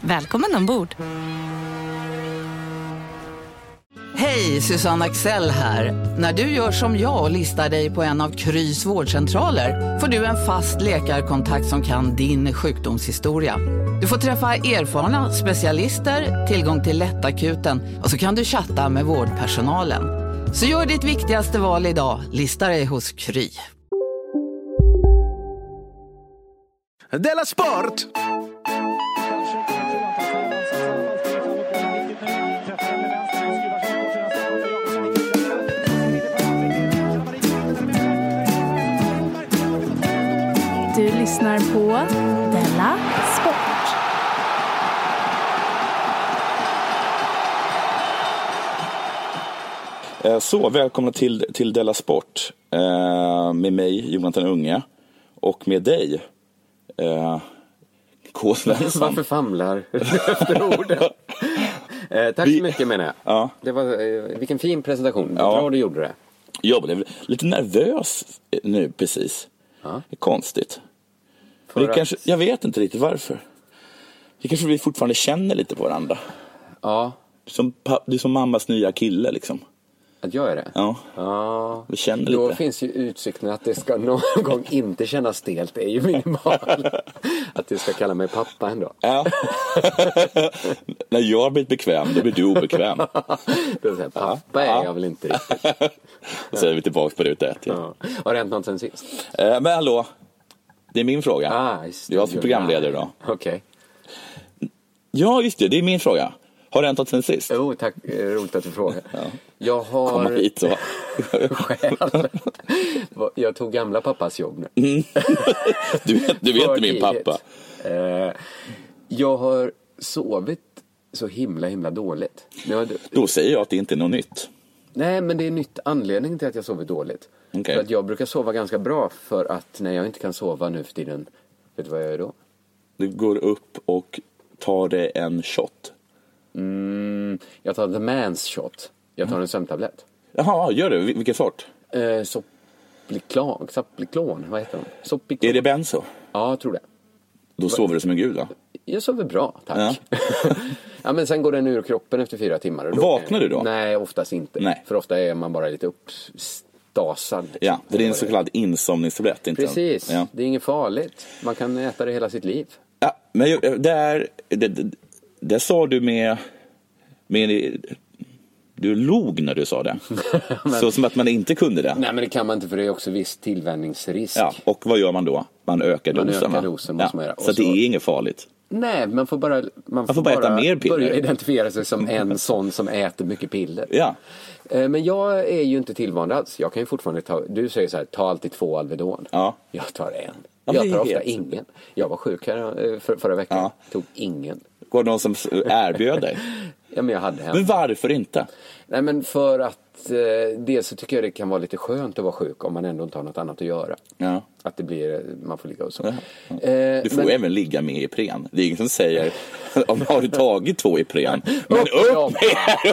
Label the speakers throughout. Speaker 1: Välkommen ombord!
Speaker 2: Hej, Susanne Axel här. När du gör som jag och listar dig på en av Krys vårdcentraler får du en fast läkarkontakt som kan din sjukdomshistoria. Du får träffa erfarna specialister, tillgång till lättakuten och så kan du chatta med vårdpersonalen. Så gör ditt viktigaste val idag, listar dig hos Kry.
Speaker 3: Della Sport!
Speaker 4: Du lyssnar på Della Sport.
Speaker 5: Eh, Så, välkomna till, till Della Sport eh, med mig, Jonathan Unge, och med dig, eh, K. Svensson.
Speaker 6: Varför famlar du efter orden? eh, tack
Speaker 5: Vi-
Speaker 6: så mycket menar jag.
Speaker 5: Ja.
Speaker 6: Det var, eh, vilken fin presentation. Vad
Speaker 5: Ja.
Speaker 6: bra du gjorde det.
Speaker 5: Jag blev lite nervös nu precis.
Speaker 6: Ja.
Speaker 5: Det är konstigt.
Speaker 6: För
Speaker 5: Det
Speaker 6: att-
Speaker 5: kanske, jag vet inte riktigt varför. Det kanske vi fortfarande känner lite på varandra.
Speaker 6: Ja,
Speaker 5: Du är som, pa- du är som mammas nya kille liksom.
Speaker 6: att jag är det.
Speaker 5: Ja,
Speaker 6: Ja.
Speaker 5: vi känner
Speaker 6: Då
Speaker 5: lite.
Speaker 6: finns ju utsikten att det ska någon gång inte kännas stelt. Det är ju minimal. att du ska kalla mig pappa ändå.
Speaker 5: Ja. När jag har blivit bekväm, då blir du obekväm.
Speaker 6: Då säger jag, pappa
Speaker 5: Ja.
Speaker 6: är jag väl inte riktigt.
Speaker 5: Då säger vi tillbaka på ruta ett. Ja.
Speaker 6: Ja. Har det hänt något sen sist?
Speaker 5: Eh, Men hallå, det är min fråga.
Speaker 6: Ah, just
Speaker 5: det är jag som är programledare idag.
Speaker 6: Okej.
Speaker 5: Ja, just det. Det är min fråga. Har det hänt något sen sist?
Speaker 6: Jo, tack. Eh, Roligt att du frågar. Jag har...
Speaker 5: Komma hit och...
Speaker 6: själv. Vad- Jag tog gamla pappas jobb nu.
Speaker 5: Du vet, du vet
Speaker 6: För
Speaker 5: inte min
Speaker 6: tidigt.
Speaker 5: pappa.
Speaker 6: Eh, jag har sovit så himla, himla dåligt. Nu har du-
Speaker 5: Då säger jag att det inte är något nytt.
Speaker 6: Nej, men det är nytt anledning till att jag sovit dåligt.
Speaker 5: Okej.
Speaker 6: För att jag brukar sova ganska bra för att när jag inte kan sova nu för tiden, vet du vad jag gör då?
Speaker 5: Du går upp och tar dig en shot.
Speaker 6: Mm, jag tar the man's shot. Jag tar en sömntablett.
Speaker 5: Jaha, gör du? Vil- Vilken sort?
Speaker 6: Eh, Sopliklon, Sopliklon, vad heter de? Sopliklon.
Speaker 5: Är det benzo?
Speaker 6: Ja, jag tror det.
Speaker 5: Då sover du som en gud, va?
Speaker 6: Jag sover bra, tack. Ja. men sen går den ur kroppen efter fyra timmar. Och
Speaker 5: Vaknar du då?
Speaker 6: Nej, oftast inte.
Speaker 5: Nej.
Speaker 6: För ofta är man bara lite uppstasad.
Speaker 5: Ja, för det är en så kallad insomningstablett. Inte en-
Speaker 6: Precis,
Speaker 5: Ja.
Speaker 6: det är inget farligt. Man kan äta det hela sitt liv.
Speaker 5: Ja, men jag- jag- där, det, det, det sa du med, med... Du log när du sa det. Så som att man inte kunde det.
Speaker 6: Nej, men det kan man inte för det är också viss tillvänjningsrisk.
Speaker 5: Ja, och vad gör man då? Man ökar
Speaker 6: Man
Speaker 5: dosen.
Speaker 6: ökar
Speaker 5: va?
Speaker 6: dosen, måste man göra.
Speaker 5: Så,
Speaker 6: Och
Speaker 5: att det
Speaker 6: så-
Speaker 5: är inget farligt.
Speaker 6: Nej, man får bara, man
Speaker 5: får bara äta mer piller.
Speaker 6: börja identifiera sig som en sån som äter mycket piller.
Speaker 5: Ja.
Speaker 6: Eh, Men jag är ju inte tillvand alls. Jag kan ju fortfarande ta, du säger så här, ta alltid två Alvedon.
Speaker 5: Ja.
Speaker 6: Jag tar en.
Speaker 5: men det
Speaker 6: jag
Speaker 5: är
Speaker 6: tar ofta
Speaker 5: helt-
Speaker 6: ingen. Jag var sjuk här eh, för, förra veckan,
Speaker 5: Ja.
Speaker 6: tog ingen.
Speaker 5: Går det någon som erbjöd dig?
Speaker 6: Ja, men jag hade hem.
Speaker 5: Men varför inte?
Speaker 6: Nej, men för att eh, dels så tycker jag det kan vara lite skönt att vara sjuk om man ändå inte har något annat att göra.
Speaker 5: Ja.
Speaker 6: Att det blir, man får ligga och så.
Speaker 5: Ja.
Speaker 6: Eh,
Speaker 5: Du får
Speaker 6: men-
Speaker 5: även ligga med Ipren. Det är ingen som säger om har du tagit två Ipren. Men
Speaker 6: Upp med dem.
Speaker 5: upp med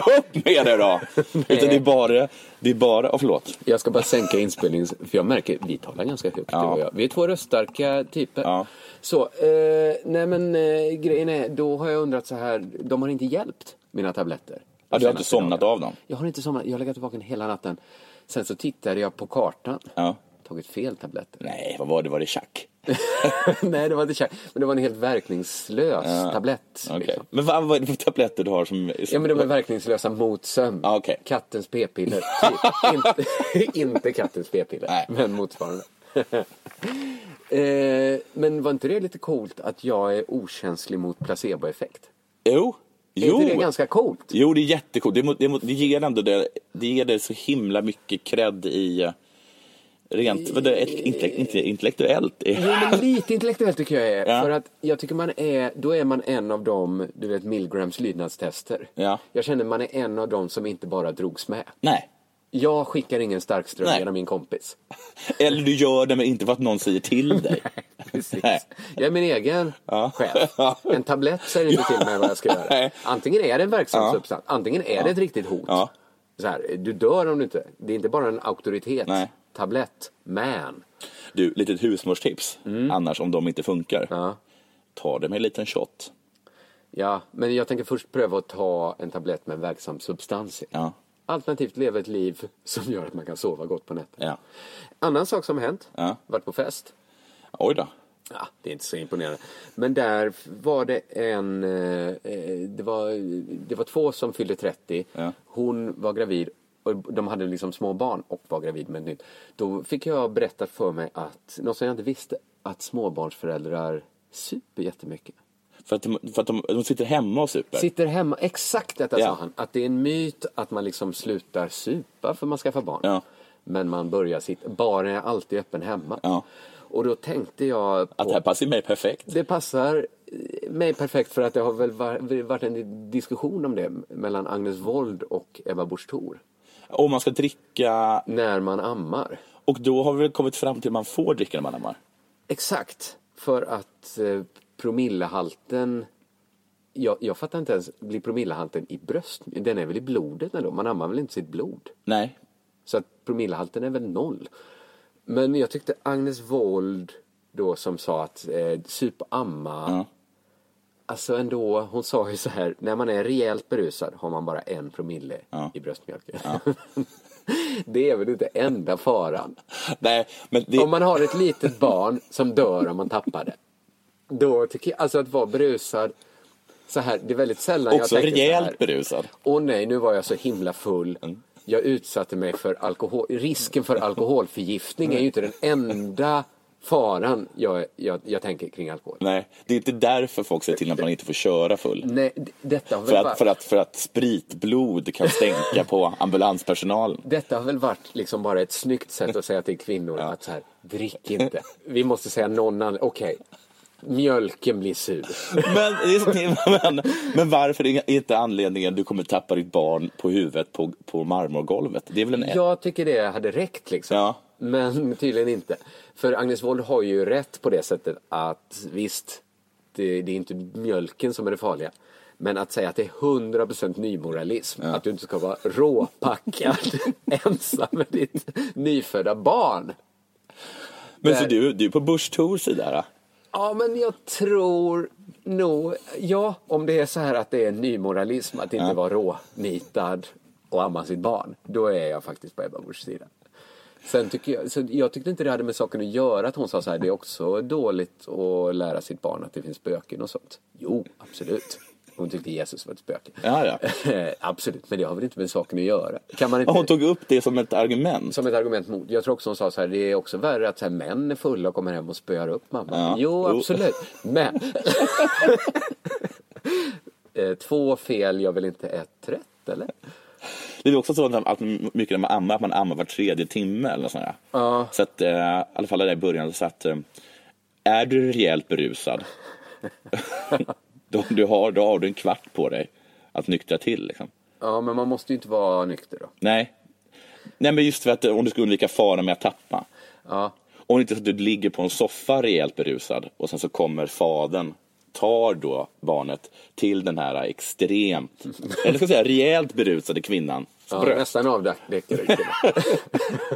Speaker 5: er, upp med er då! Utan det är bara, det är bara, oh, förlåt.
Speaker 6: Jag ska bara sänka inspelningen, för jag märker vi talar ganska högt
Speaker 5: Ja.
Speaker 6: du och jag. Vi är två röststarka typer.
Speaker 5: Ja.
Speaker 6: Så, eh, nej men eh, grejen är, då har jag undrat så här, de har inte hjälpt mina
Speaker 5: Ja,
Speaker 6: tabletter. De
Speaker 5: du har
Speaker 6: senaste
Speaker 5: inte somnat
Speaker 6: dagarna.
Speaker 5: av dem?
Speaker 6: Jag har inte somnat, jag har legat vaken hela natten. Sen så tittade jag på kartan,
Speaker 5: Ja.
Speaker 6: tagit fel tabletter.
Speaker 5: Nej, vad var det? Var det tjack?
Speaker 6: nej, det var inte kär. men det var en helt verkningslös tablett.
Speaker 5: Okej.
Speaker 6: liksom.
Speaker 5: Men vad, vad är det för tabletter du har som...
Speaker 6: Ja men de är verkningslösa mot sömn.
Speaker 5: Ja, okej.
Speaker 6: Kattens p-piller. typ. inte, inte kattens p-piller,
Speaker 5: Nej.
Speaker 6: men motsvarande. eh, men var inte det lite coolt att jag är okänslig mot placeboeffekt?
Speaker 5: Jo.
Speaker 6: Är
Speaker 5: Jo.
Speaker 6: inte det ganska coolt?
Speaker 5: Jo, det är jättecoolt. Det, må- det, må- det ger ändå det, det ger det så himla mycket cred i, eh, Rent vadå, ett, inte, inte intellektuellt.
Speaker 6: Jo, men lite intellektuellt tycker jag är.
Speaker 5: Ja.
Speaker 6: För att jag tycker man är, då är man en av dem, du vet Milgrams lydnadstester.
Speaker 5: Ja.
Speaker 6: Jag känner man är en av dem som inte bara drogs med.
Speaker 5: Nej.
Speaker 6: Jag skickar ingen starkström
Speaker 5: Nej.
Speaker 6: genom min kompis.
Speaker 5: Eller du gör det men inte för att någon säger till dig.
Speaker 6: Precis.
Speaker 5: Nej.
Speaker 6: Jag är min egen
Speaker 5: Ja.
Speaker 6: chef. En tablett säger inte till mig vad jag ska göra.
Speaker 5: Nej.
Speaker 6: Antingen är det en verksam
Speaker 5: Ja.
Speaker 6: substans, antingen är det ett riktigt hot.
Speaker 5: Ja.
Speaker 6: Så här, du dör om du inte... Det är inte bara en auktoritet.
Speaker 5: Nej.
Speaker 6: Tablett. Man.
Speaker 5: Du, litet husmorstips annars om de inte funkar.
Speaker 6: Mm. Ja.
Speaker 5: Ta det med en liten shot.
Speaker 6: ja, men jag tänker först pröva att ta en tablett med en verksam substans i.
Speaker 5: Ja.
Speaker 6: Alternativt leva ett liv som gör att man kan sova gott på nätterna.
Speaker 5: Ja.
Speaker 6: Annan sak som hänt,
Speaker 5: Ja.
Speaker 6: varit på fest.
Speaker 5: Oj då.
Speaker 6: Ja, det är inte så imponerande. Men där var det en... eh, eh, Det var, det var två som fyllde 30.
Speaker 5: Ja.
Speaker 6: Hon var gravid. Och de hade liksom små barn och var gravid med ett nytt. Då fick jag berätta för mig att, något som jag inte visste, att småbarnsföräldrar super jättemycket.
Speaker 5: För att, de- för att de, de sitter hemma och super.
Speaker 6: Sitter hemma, exakt detta
Speaker 5: Ja.
Speaker 6: sa han. Att det är en myt att man liksom slutar supa för man skaffar barn.
Speaker 5: Ja.
Speaker 6: Men man börjar sitt, baren är alltid öppen hemma.
Speaker 5: Ja.
Speaker 6: Och då tänkte jag
Speaker 5: Att det här passar mig perfekt.
Speaker 6: det passar mig perfekt för att det har väl var- varit en diskussion om det mellan Agnes Wold och Ebba Busch Thor.
Speaker 5: Om man ska dricka,
Speaker 6: När man ammar.
Speaker 5: och då har vi väl kommit fram till att man får dricka när man ammar.
Speaker 6: Exakt. För att eh, promillehalten... Jag, jag fattar inte ens, blir promillehalten i bröst? Den är väl i blodet ändå? Man ammar väl inte sitt blod?
Speaker 5: Nej.
Speaker 6: Så att promillehalten är väl noll. Men jag tyckte Agnes Wold då som sa att eh, sup och amma.
Speaker 5: Ja.
Speaker 6: Alltså ändå, hon sa ju så här, när man är rejält berusad har man bara en promille
Speaker 5: Ja.
Speaker 6: i bröstmjölken. det är väl inte enda faran.
Speaker 5: Nej, men det,
Speaker 6: Om man har ett litet barn som dör om man tappar det. Då tycker jag, alltså att vara berusad så här, det är väldigt sällan
Speaker 5: Också
Speaker 6: jag tänker så här,
Speaker 5: rejält berusad. Mm.
Speaker 6: Åh nej, nu var jag så himla full. Jag utsatte mig för alkohol. Risken för alkoholförgiftning är ju inte den enda faran jag, jag, jag tänker kring alkohol.
Speaker 5: nej, det är inte därför folk säger till att man inte får köra full.
Speaker 6: Nej, d- detta har väl
Speaker 5: För
Speaker 6: Mm, bara-
Speaker 5: att, för, att, för att spritblod kan stänka på ambulanspersonalen.
Speaker 6: Detta har väl varit liksom bara ett snyggt sätt att säga till kvinnor att så här, drick inte. Vi måste säga någon annan, okej, mjölken blir sur.
Speaker 5: Men, men, men varför är inte anledningen att du kommer tappa ditt barn på huvudet på, på marmorgolvet? Det är väl en...
Speaker 6: Jag tycker det hade räckt liksom.
Speaker 5: Ja.
Speaker 6: Men tydligen inte. För Agnes Wold har ju rätt på det sättet att visst, det, det är inte mjölken som är det farliga. Men att säga att det är 100% nymoralism, att du inte ska vara råpackad ensam med ditt nyfödda barn.
Speaker 5: men så du, du är på Busch Thors sida? då?
Speaker 6: Ja, men jag tror nog... Ja, om det är så här att det är nymoralism att inte vara rånitad och amma sitt barn, då är jag faktiskt på Ebba Buschs sida. Sen tycker jag, så jag tyckte inte det hade med saken att göra att hon sa så här, det är också dåligt att lära sitt barn att det finns spöken och sånt. Jo, absolut. Hon tyckte Jesus var ett spöke.
Speaker 5: Ja, ja.
Speaker 6: absolut, men det har väl inte med saken att göra. Kan man inte...
Speaker 5: Ja, Hon tog upp det som ett argument.
Speaker 6: Som ett argument mot. Jag tror också hon sa så här, det är också värre att så här, män är fulla och kommer hem och spöar upp mamma.
Speaker 5: Ja.
Speaker 6: Jo,
Speaker 5: Jo.
Speaker 6: absolut. Men. Eh, Två fel gör väl inte ett rätt, eller?
Speaker 5: Det är också sånt att mycket när man ammar, att man ammar var tredje timme eller något sånt där. Så att, eh, i alla fall där i början, så att eh, är du rejält berusad, då, du har, då har du en kvart på dig att nyktra till. Liksom.
Speaker 6: Ja, men man måste ju inte vara nykter då.
Speaker 5: Nej. Nej, men just för att eh, om du ska undvika faran med att tappa.
Speaker 6: Ja.
Speaker 5: Om det inte är så att du ligger på en soffa rejält berusad och sen så kommer faden tar då barnet till den här extremt, eller ska jag säga rejält berusade kvinnan.
Speaker 6: Ja, nästan avdäckare. kille.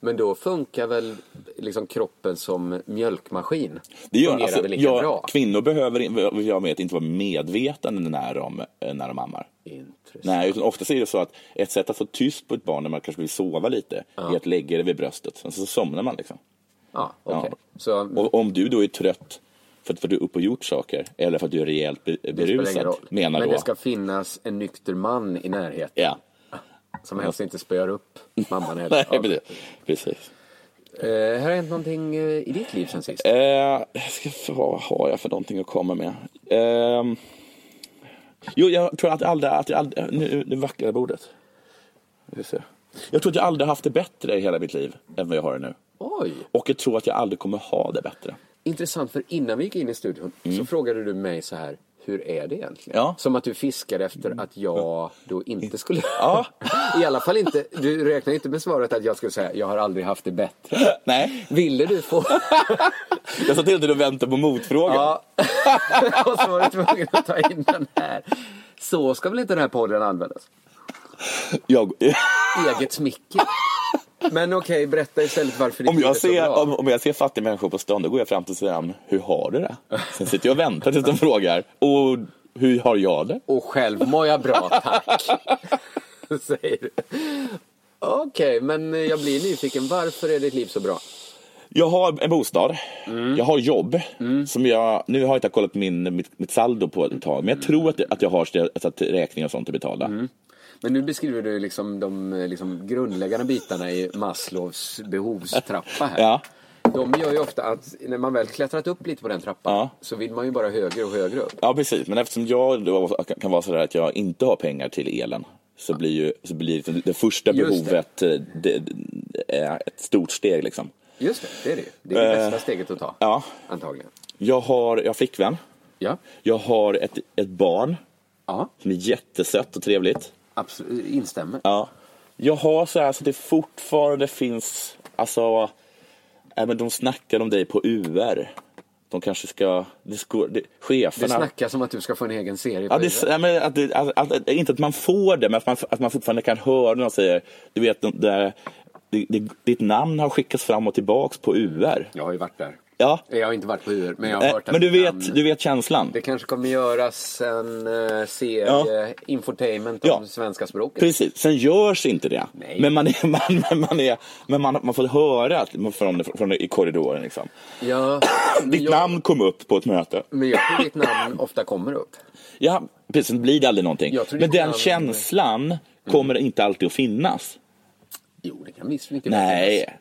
Speaker 6: Men då funkar väl liksom kroppen som mjölkmaskin?
Speaker 5: Det gör,
Speaker 6: Fungerar
Speaker 5: alltså,
Speaker 6: väl lika
Speaker 5: jag-
Speaker 6: bra?
Speaker 5: Kvinnor behöver in- jag vet, inte vara medvetande när de, eh, när de ammar.
Speaker 6: Intressant.
Speaker 5: Nej, utan ofta är det så att ett sätt att få tyst på ett barn när man kanske vill sova lite är att lägga det vid bröstet. Sen så somnar man. Liksom.
Speaker 6: Ja, okej.
Speaker 5: Ja.
Speaker 6: Så
Speaker 5: Och om du då är trött för att, för att du är uppe och gjort saker eller för att du är rejält be-
Speaker 6: det spelar ingen
Speaker 5: berusad
Speaker 6: roll.
Speaker 5: menar
Speaker 6: Men
Speaker 5: då...
Speaker 6: det ska finnas en nykter man i närheten.
Speaker 5: Ja.
Speaker 6: Som helst inte spöar upp mamman
Speaker 5: Nej,
Speaker 6: heller.
Speaker 5: precis. precis.
Speaker 6: Eh, har det hänt någonting eh, i ditt liv sen sist?
Speaker 5: Eh, jag ska, f- vad har jag för någonting att komma med? Ehm, jo, jag tror att jag aldrig... Att jag aldrig nu, nu vacklar bordet. Vi får se. Jag tror att jag aldrig haft det bättre i hela mitt liv än vad jag har det nu.
Speaker 6: Oj!
Speaker 5: Och jag tror att jag aldrig kommer ha det bättre.
Speaker 6: Intressant, för innan vi gick in i studion så frågade du mig så här, hur är det egentligen?
Speaker 5: Ja.
Speaker 6: Som att du fiskar efter att jag då inte skulle...
Speaker 5: Ja.
Speaker 6: I alla fall inte, du räknar inte med svaret att jag skulle säga, jag har aldrig haft det bättre.
Speaker 5: Nej,
Speaker 6: Ville du få...
Speaker 5: jag sa till dig att vänta på motfrågan.
Speaker 6: Ja. och så var du tvungen att ta in den här. Så ska väl inte den här podden användas?
Speaker 5: Jag,
Speaker 6: Eget smicker. Men okej, berätta istället varför det
Speaker 5: om, jag
Speaker 6: inte är så
Speaker 5: ser,
Speaker 6: bra.
Speaker 5: om, om jag ser fattiga människor på stan, då går jag fram till dem hur har du det? Sen sitter jag och väntar tills de frågar, och hur har jag det?
Speaker 6: Och själv mår jag bra, tack. Säger du. Okej, men jag blir nyfiken. Varför är ditt liv så bra?
Speaker 5: Jag har en bostad,
Speaker 6: Mm.
Speaker 5: jag har jobb. Som jag, nu har jag inte kollat min, mitt, mitt saldo på ett tag, men
Speaker 6: Mm.
Speaker 5: jag tror att, att jag har så att räkningar och sånt att betala.
Speaker 6: Men nu beskriver du liksom de eh, liksom grundläggande bitarna i Maslows behovstrappa här.
Speaker 5: Ja.
Speaker 6: De gör ju ofta att när man väl klättrat upp lite på den trappan
Speaker 5: Ja.
Speaker 6: så vill man ju bara högre och högre upp.
Speaker 5: Ja, precis. Men eftersom jag då kan vara sådär att jag inte har pengar till elen så blir ju så blir det, det första
Speaker 6: Just det.
Speaker 5: behovet eh, det. är ett stort steg. Liksom.
Speaker 6: Just det, det är det ju. Det är det
Speaker 5: Eh,
Speaker 6: bästa steget att ta.
Speaker 5: ja.
Speaker 6: Antagligen.
Speaker 5: Jag har, jag har flickvän,
Speaker 6: Ja,
Speaker 5: jag har ett, ett barn
Speaker 6: ja
Speaker 5: som är jättesött och trevligt.
Speaker 6: absolut. Instämmer.
Speaker 5: Ja. Jag har så här så det fortfarande finns, alltså, äh, men de snackar om dig på UR. De kanske ska, det ska det,
Speaker 6: Det
Speaker 5: cheferna.
Speaker 6: snackas om att du ska få en egen serie.
Speaker 5: Ja,
Speaker 6: på
Speaker 5: det,
Speaker 6: det.
Speaker 5: ja, men att det, att, att, att, inte att man får det, men att man, att man fortfarande kan höra när de säger, du vet, de, där, det, det, ditt namn har skickats fram och tillbaks på UR.
Speaker 6: Jag har ju varit där.
Speaker 5: Ja,
Speaker 6: Jag har inte varit på UR, Eh, men jag har
Speaker 5: eh,
Speaker 6: hört att
Speaker 5: men du
Speaker 6: namn-
Speaker 5: vet, du vet känslan.
Speaker 6: Det kanske kommer göras en eh, serie, infotainment om
Speaker 5: Ja.
Speaker 6: svenska språket.
Speaker 5: Precis, sen görs inte det.
Speaker 6: Nej.
Speaker 5: Men man, är, man, men man, är, men man, man får höra att- från, från, i korridoren. Liksom.
Speaker 6: Ja, men
Speaker 5: Ditt
Speaker 6: jag,
Speaker 5: namn kom upp på ett möte.
Speaker 6: Men jag tror ditt namn ofta kommer upp.
Speaker 5: Ja, precis, det blir det aldrig någonting.
Speaker 6: Jag tror
Speaker 5: Men
Speaker 6: ditt
Speaker 5: den
Speaker 6: namn- Mm.
Speaker 5: känslan kommer inte alltid att finnas.
Speaker 6: Jo, det kan visst mycket väl finnas.
Speaker 5: Nej,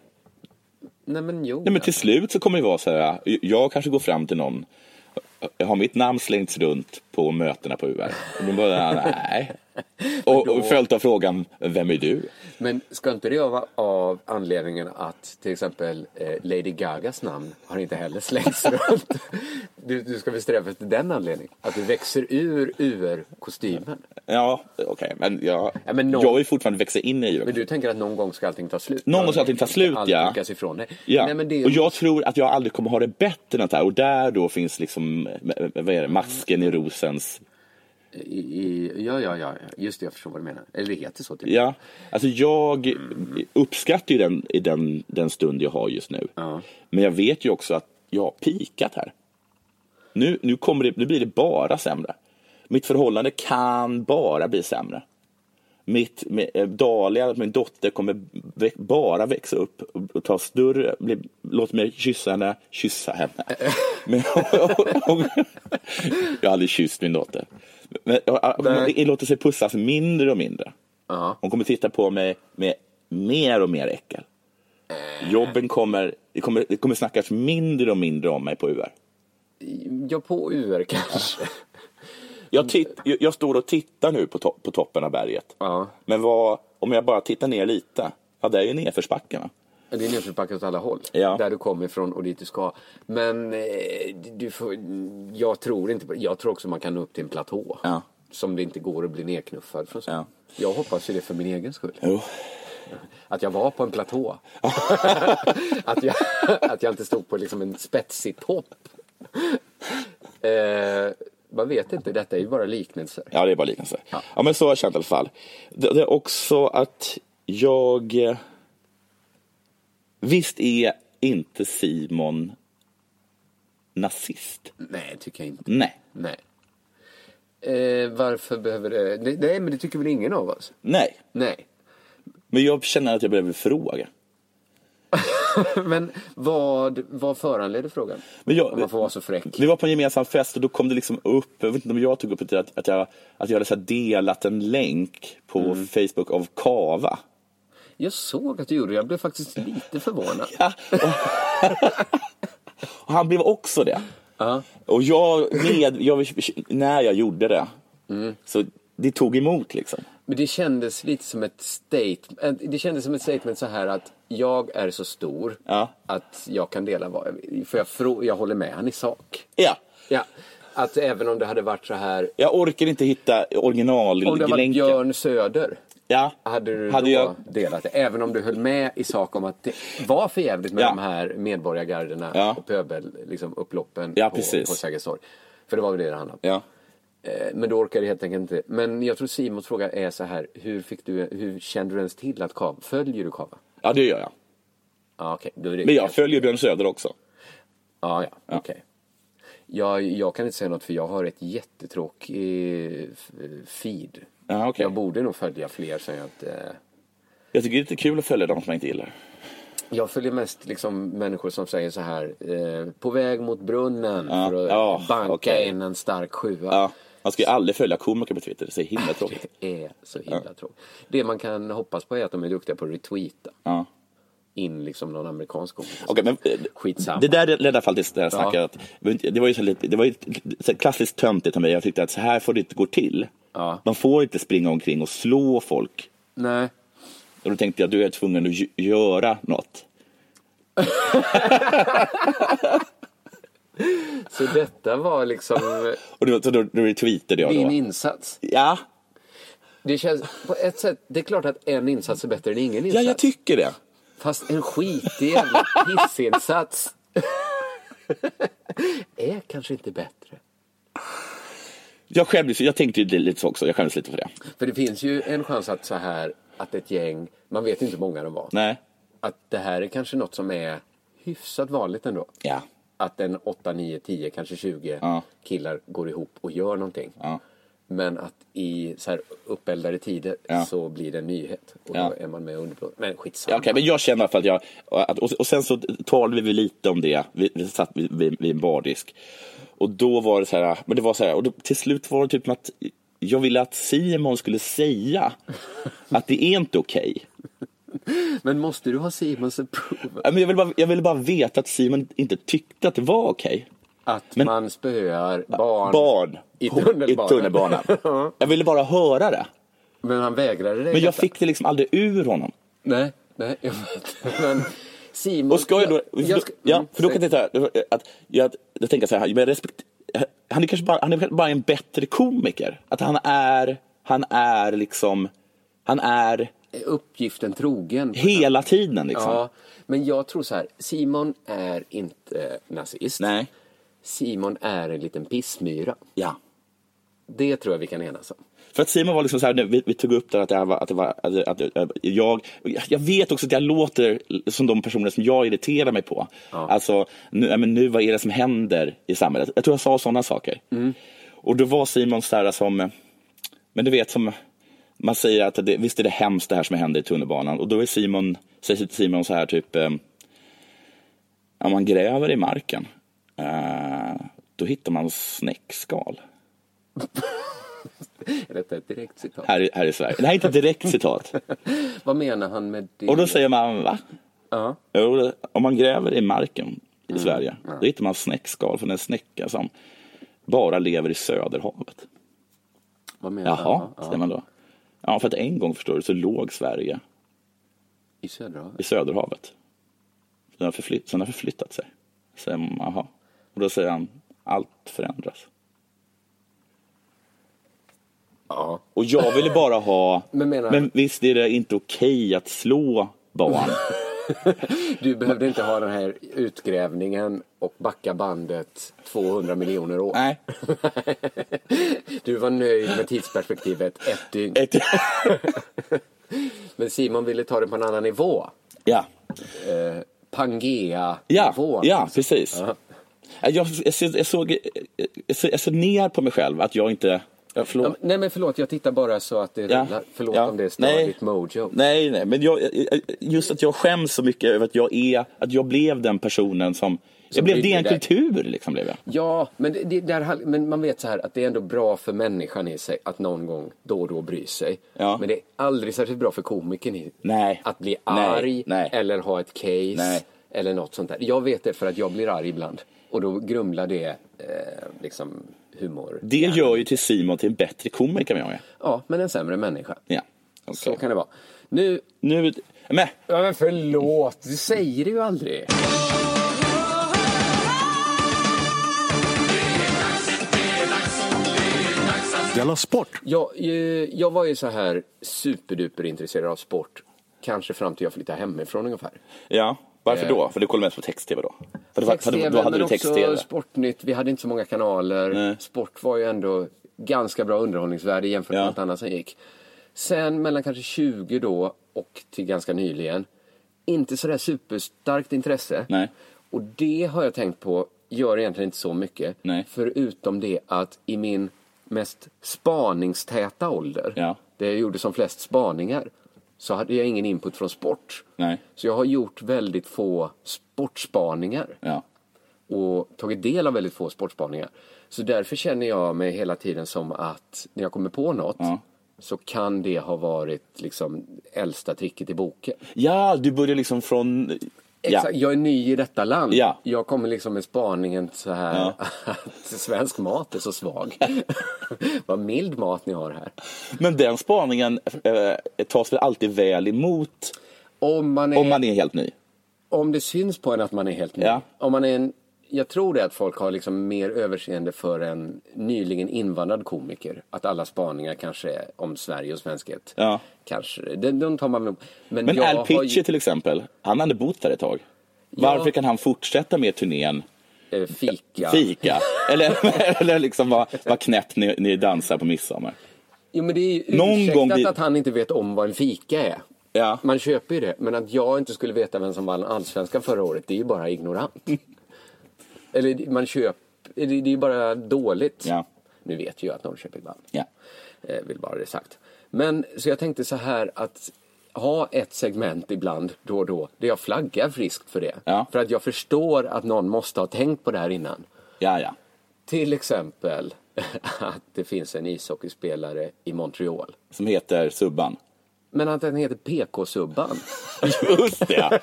Speaker 6: Nej, men jo.
Speaker 5: Nej, men till slut så kommer det vara så här, jag kanske går fram till någon, jag har mitt namn slängts runt på mötena på UR. Och de bara, nej. Och, och följt av frågan, vem är du?
Speaker 6: Men ska inte det vara av anledningen att till exempel eh, Lady Gagas namn har inte heller slängts runt? Du, du ska väl sträva efter den anledningen? Att du växer ur UR-kostymen?
Speaker 5: Ja, okej, men jag,
Speaker 6: Ja, men någon-
Speaker 5: jag är fortfarande växer in i det.
Speaker 6: Men du tänker att någon gång ska allting ta slut?
Speaker 5: Någon gång ska allting ta slut,
Speaker 6: Allt
Speaker 5: ja.
Speaker 6: ryckas ifrån dig.
Speaker 5: Ja.
Speaker 6: Nej, men det
Speaker 5: Och jag tror att jag aldrig kommer ha det bättre än att det här. Och där då finns liksom, vad är det, masken i rosens...
Speaker 6: I, i, ja, ja, ja, ja. just det, jag förstår vad du menar. Eller det heter så typ.
Speaker 5: Ja, alltså jag uppskattar ju den, i den, den stund jag har just nu.
Speaker 6: Ja.
Speaker 5: Men jag vet ju också att jag har pikat här. Nu, nu, kommer det, nu blir det bara sämre. Mitt förhållande kan bara bli sämre. Mitt, med, eh, Dahlia, min dotter, kommer vä- bara växa upp och- och ta större... Bli, låt mig kyssa henne, kyssa henne. Men, jag har aldrig kysst min dotter. Men, och, och, hon låter sig pussas mindre och mindre.
Speaker 6: Ja.
Speaker 5: Hon kommer titta på mig med mer och mer äckel. Jobben kommer, det kommer, det kommer snackas mindre och mindre om mig på UR.
Speaker 6: Ja, på UR kanske.
Speaker 5: Jag, titt, jag, jag står och tittar nu på, to, på toppen av berget.
Speaker 6: Ja.
Speaker 5: Men vad, om jag bara tittar ner lite, ja det är ju nedförsbacke. va?
Speaker 6: Det är nedförsbacke åt alla håll.
Speaker 5: Ja.
Speaker 6: Där du kommer ifrån och dit du ska. Men eh, du får, jag tror inte på det. Jag tror också man kan nå upp till en platå.
Speaker 5: Ja.
Speaker 6: Som det inte går att bli nedknuffad från.
Speaker 5: Ja.
Speaker 6: Jag hoppas ju det för min egen skull.
Speaker 5: Jo.
Speaker 6: Att jag var på en platå. att, jag, att jag inte stod på liksom en spetsig topp. Eh, man vet inte, detta är ju bara liknelser.
Speaker 5: Ja, det är bara liknelse. Ja. men så har jag känt i alla fall. Det, det är också att jag... eh, Visst är inte Simon nazist?
Speaker 6: Nej, tycker jag inte.
Speaker 5: Nej.
Speaker 6: Nej. Eh, varför behöver det... det? Nej, men det tycker väl ingen av oss?
Speaker 5: Nej.
Speaker 6: Nej.
Speaker 5: Men jag känner att jag behöver fråga.
Speaker 6: Men vad, vad föranleder frågan?
Speaker 5: Men jag-
Speaker 6: Om man får vara så fräck.
Speaker 5: Vi var på en gemensam fest och då kom det liksom upp, jag vet inte om jag tog upp det, att, att, jag, att jag hade så här delat en länk på
Speaker 6: Mm.
Speaker 5: Facebook av Kava.
Speaker 6: Jag såg att du gjorde det. Jag blev faktiskt lite förvånad.
Speaker 5: Och han blev också det. Och
Speaker 6: Mm.
Speaker 5: jag, med, jag, när jag gjorde det, så det tog emot liksom.
Speaker 6: Men det kändes lite som ett statement. Det kändes som ett statement så här att jag är så stor
Speaker 5: Ja.
Speaker 6: att jag kan dela vad För jag, frå- jag håller med han i sak.
Speaker 5: Ja.
Speaker 6: Ja. Att även om det hade varit så här.
Speaker 5: Jag orkar inte hitta
Speaker 6: Om det hade varit
Speaker 5: originallänken.
Speaker 6: Björn Söder.
Speaker 5: Ja.
Speaker 6: Hade du
Speaker 5: Hade
Speaker 6: då
Speaker 5: jag-
Speaker 6: delat det? Även om du höll med i sak om att det var för jävligt med
Speaker 5: Ja.
Speaker 6: de här medborgargarderna
Speaker 5: Ja.
Speaker 6: och pöbelupploppen liksom, upploppen
Speaker 5: Ja,
Speaker 6: på,
Speaker 5: precis.
Speaker 6: på Sergels torg. För det var väl det det handlade om.
Speaker 5: Ja.
Speaker 6: Eh, Men du orkar helt enkelt inte. Men jag tror Simons fråga är så här, hur, fick du, hur kände du ens till att Kava, följer du Kava?
Speaker 5: ja, det gör jag.
Speaker 6: Ja, okej. då är det
Speaker 5: Men jag
Speaker 6: kanske-
Speaker 5: följer Björn Söder också.
Speaker 6: Ja, ja, okej. Jag, jag kan inte säga något för jag har ett jättetråkig eh, feed.
Speaker 5: Ja, okej.
Speaker 6: Jag borde nog följa fler som jag eh, inte...
Speaker 5: Jag tycker det är lite kul att följa de som jag inte gillar.
Speaker 6: Jag följer mest liksom människor som säger så här, eh, på väg mot brunnen
Speaker 5: Ja.
Speaker 6: för att
Speaker 5: Ja,
Speaker 6: banka
Speaker 5: okej.
Speaker 6: in en stark sjua.
Speaker 5: Ja. Man ska ju aldrig följa komiker på Twitter, det är så himla tråkigt.
Speaker 6: Det är så himla tråkigt. Det man kan hoppas på är att de är duktiga på att retweeta.
Speaker 5: Ja.
Speaker 6: in liksom någon amerikansk kompis.
Speaker 5: Okej, men, eh,
Speaker 6: Skitsamma.
Speaker 5: Det där ledde i alla fall till det här snacket.
Speaker 6: Ja.
Speaker 5: Att, men det var ju, så lite, det var ju så här klassiskt töntigt av mig. Jag tyckte att så här får det inte gå till.
Speaker 6: Ja.
Speaker 5: Man får inte springa omkring och slå folk.
Speaker 6: Nej.
Speaker 5: Och då tänkte jag, du är tvungen att gö- göra något.
Speaker 6: Så detta var liksom
Speaker 5: Och då, så då, då retweetade jag.
Speaker 6: din
Speaker 5: Då.
Speaker 6: insats.
Speaker 5: Ja,
Speaker 6: Det känns på ett sätt, det är klart att en insats är bättre än ingen
Speaker 5: ja,
Speaker 6: insats.
Speaker 5: jag tycker det.
Speaker 6: Fast en skitig jävla pissinsats är kanske inte bättre.
Speaker 5: Jag, skämdes, jag tänkte ju lite så också, jag skämdes lite för det.
Speaker 6: För det finns ju en chans att så här, att ett gäng, man vet inte hur många de var,
Speaker 5: Nej,
Speaker 6: att det här är kanske något som är hyfsat vanligt ändå.
Speaker 5: ja.
Speaker 6: att en 8, 9, 10, kanske 20
Speaker 5: Ja.
Speaker 6: killar går ihop och gör någonting.
Speaker 5: Ja.
Speaker 6: Men att i så här uppeldade tider
Speaker 5: Ja.
Speaker 6: så blir det en nyhet och
Speaker 5: Ja.
Speaker 6: då är man med underblåst. Men skitsamma.
Speaker 5: Ja, okej, men jag känner i alla fall att jag... Att, och, och sen så talade vi lite om det. Vi, vi satt vid, vid, vid en bardisk. Och då var det så här... Men det var så här och då, till slut var det typ att jag ville att Simon skulle säga att det är inte okej.
Speaker 6: Men måste du ha Simons approval?
Speaker 5: Ja, men Jag, ville bara- jag ville bara veta att Simon inte tyckte att det var okej.
Speaker 6: Att
Speaker 5: Men-
Speaker 6: man spöar barn,
Speaker 5: Barn.
Speaker 6: i tunnelbanan.
Speaker 5: I tunnelbanan. jag ville bara höra det.
Speaker 6: Men han vägrade det.
Speaker 5: Men jag fick det liksom aldrig ur honom.
Speaker 6: Nej, nej, jag vet. Men Simon...
Speaker 5: Och ska jag då...
Speaker 6: Jag-
Speaker 5: För
Speaker 6: jag
Speaker 5: då
Speaker 6: ska-
Speaker 5: ja,
Speaker 6: Mm,
Speaker 5: för då
Speaker 6: säg.
Speaker 5: kan jag tänka att... Jag, jag tänker så här, men jag respekt, han är kanske bara, han är kanske bara en bättre komiker. Att han är, han är liksom... Han är
Speaker 6: Uppgiften trogen.
Speaker 5: hela tiden liksom.
Speaker 6: Ja, men jag tror så här. Simon är inte nazist.
Speaker 5: Nej.
Speaker 6: Simon är en liten pissmyra.
Speaker 5: Ja.
Speaker 6: Det tror jag vi kan enas om.
Speaker 5: För att Simon var liksom så här, vi, vi tog upp det att det här var, att det var, att, det- att, det- jag, jag vet också att jag låter som de personer som jag irriterar mig på. Alltså, nu, ja, men nu vad är det som händer i samhället? Jag tror jag sa sådana saker. Och då var Simon så här som, men du vet som, man säger att det, visst är det hemskt det här som händer i tunnelbanan. Och då är Simon, säger Simon så här typ, eh, om man gräver i marken, eh, då hittar man snäckskal.
Speaker 6: Detta är ett direkt citat.
Speaker 5: Här, i- här i Sverige. Det här är inte ett direkt citat.
Speaker 6: Vad menar han med det?
Speaker 5: Och då säger man va?
Speaker 6: Ja.
Speaker 5: Jo, det- om man gräver i marken i
Speaker 6: Mm.
Speaker 5: Sverige, då hittar man snäckskal från en snäcka som bara lever i Söderhavet.
Speaker 6: Vad menar
Speaker 5: Jaha,
Speaker 6: han? Ja,
Speaker 5: säger man då. Ja, för att en gång förstår du så låg Sverige
Speaker 6: I södra havet.
Speaker 5: i Söderhavet. Den har, förflytt, den har förflyttat sig. Säger man, aha. Och då säger han, allt förändras.
Speaker 6: Ja.
Speaker 5: Och jag ville bara ha,
Speaker 6: Men menar-
Speaker 5: men visst är det inte okej att slå barn?
Speaker 6: Du behövde inte ha den här utgrävningen och backa bandet 200 miljoner år.
Speaker 5: Nej.
Speaker 6: Du var nöjd med tidsperspektivet ett dygn.
Speaker 5: Ett-
Speaker 6: Men Simon ville ta det på en annan nivå.
Speaker 5: ja.
Speaker 6: Eh,
Speaker 5: Ja,
Speaker 6: Pangea-nivån.
Speaker 5: ja
Speaker 6: liksom.
Speaker 5: precis. Jag, jag, ser- jag, såg, jag, ser- jag ser ner på mig själv att jag inte... Jag förlåt.
Speaker 6: Ja, men- Nej men förlåt, jag tittar bara så att det rullar. Förlåt
Speaker 5: Ja.
Speaker 6: om det stör
Speaker 5: Nej.
Speaker 6: ditt mojo.
Speaker 5: Nej, nej, men jag, jag- just att jag skäms så mycket över att jag, är, att jag blev den personen som... jag blev
Speaker 6: brydde
Speaker 5: DN
Speaker 6: dig.
Speaker 5: Kultur, liksom blev jag.
Speaker 6: Ja, men, det, det, där, hal- men man vet så här att det är ändå bra för människan i sig att någon gång då och då bry sig.
Speaker 5: Ja.
Speaker 6: Men det är aldrig särskilt bra för komikern i
Speaker 5: Nej.
Speaker 6: att bli
Speaker 5: Nej,
Speaker 6: arg
Speaker 5: nej.
Speaker 6: eller ha ett case
Speaker 5: Nej.
Speaker 6: eller något sånt där. Jag vet det för att jag blir arg ibland. Och då grumlar det eh, liksom humor.
Speaker 5: Det gör ju till Simon till en bättre komiker med jag
Speaker 6: Ja, men en sämre människa.
Speaker 5: Ja.
Speaker 6: Så
Speaker 5: Okej.
Speaker 6: kan det vara. Nu...
Speaker 5: Nu, men,
Speaker 6: Ja, men förlåt, du säger det ju aldrig.
Speaker 3: Della Sport!
Speaker 6: Jag, eh, jag var ju så här superduper intresserad av sport. Kanske fram till jag flyttade hemifrån ungefär.
Speaker 5: ja. Varför
Speaker 6: Eh.
Speaker 5: då? För du kollade mest på text-tv då? För då-
Speaker 6: Text-tv,
Speaker 5: då hade
Speaker 6: men
Speaker 5: du text-tv.
Speaker 6: också Sportnytt. Vi hade inte så många kanaler.
Speaker 5: Nej.
Speaker 6: Sport var ju ändå ganska bra underhållningsvärde jämfört med
Speaker 5: Ja.
Speaker 6: allt annat som gick. Sen mellan kanske 20 då och till ganska nyligen. Inte sådär superstarkt intresse.
Speaker 5: Nej.
Speaker 6: Och det har jag tänkt på gör egentligen inte så mycket.
Speaker 5: Nej.
Speaker 6: Förutom det att i min mest spaningstäta ålder,
Speaker 5: Ja.
Speaker 6: där jag gjorde som flest spaningar, så hade jag ingen input från sport.
Speaker 5: Nej.
Speaker 6: Så jag har gjort väldigt få sportspaningar
Speaker 5: Ja.
Speaker 6: och tagit del av väldigt få sportspaningar. Så därför känner jag mig hela tiden som att när jag kommer på något
Speaker 5: Ja.
Speaker 6: så kan det ha varit liksom äldsta tricket i boken.
Speaker 5: ja, du började liksom från... Ja.
Speaker 6: Exakt, jag är ny i detta land.
Speaker 5: Ja.
Speaker 6: Jag kommer liksom med spaningen så här
Speaker 5: Ja.
Speaker 6: att svensk mat är så svag. Vad mild mat ni har här.
Speaker 5: Men den spaningen eh, tas väl alltid väl emot
Speaker 6: Om, man är,
Speaker 5: om man är helt ny?
Speaker 6: om det syns på en att man är helt ny.
Speaker 5: Ja.
Speaker 6: Om man är en, jag tror det att folk har liksom mer överseende för en nyligen invandrad komiker. Att alla spaningar kanske om Sverige och svenskhet.
Speaker 5: Ja.
Speaker 6: Kanske, de, de tar man med. Men,
Speaker 5: Men
Speaker 6: jag
Speaker 5: Al
Speaker 6: har
Speaker 5: Pitcher
Speaker 6: ju,
Speaker 5: till exempel, han hade bott där ett tag. Varför kan han fortsätta med turnén
Speaker 6: eh, fika.
Speaker 5: Fika? eller eller liksom vad vad knäppt ni, ni dansar på midsommar?
Speaker 6: Jo, men det är ju
Speaker 5: Någon
Speaker 6: ursäktat
Speaker 5: gång vi-
Speaker 6: att han inte vet om vad en fika är.
Speaker 5: Ja.
Speaker 6: Man köper ju det. Men att jag inte skulle veta vem som vann allsvenskan förra året, det är ju bara ignorant. Eller man köper... Det det är ju bara dåligt.
Speaker 5: Ja.
Speaker 6: Nu vet ju jag att Norrköping vann.
Speaker 5: Ja.
Speaker 6: Eh, vill bara ha det sagt. Men så jag tänkte så här att ha ett segment ibland då och då där jag flaggar friskt för det.
Speaker 5: Ja.
Speaker 6: För att jag förstår att någon måste ha tänkt på det här innan.
Speaker 5: ja, ja.
Speaker 6: Till exempel att det finns en ishockeyspelare i Montreal.
Speaker 5: Som heter Subban.
Speaker 6: Men att den heter PK-subban.
Speaker 5: Just det!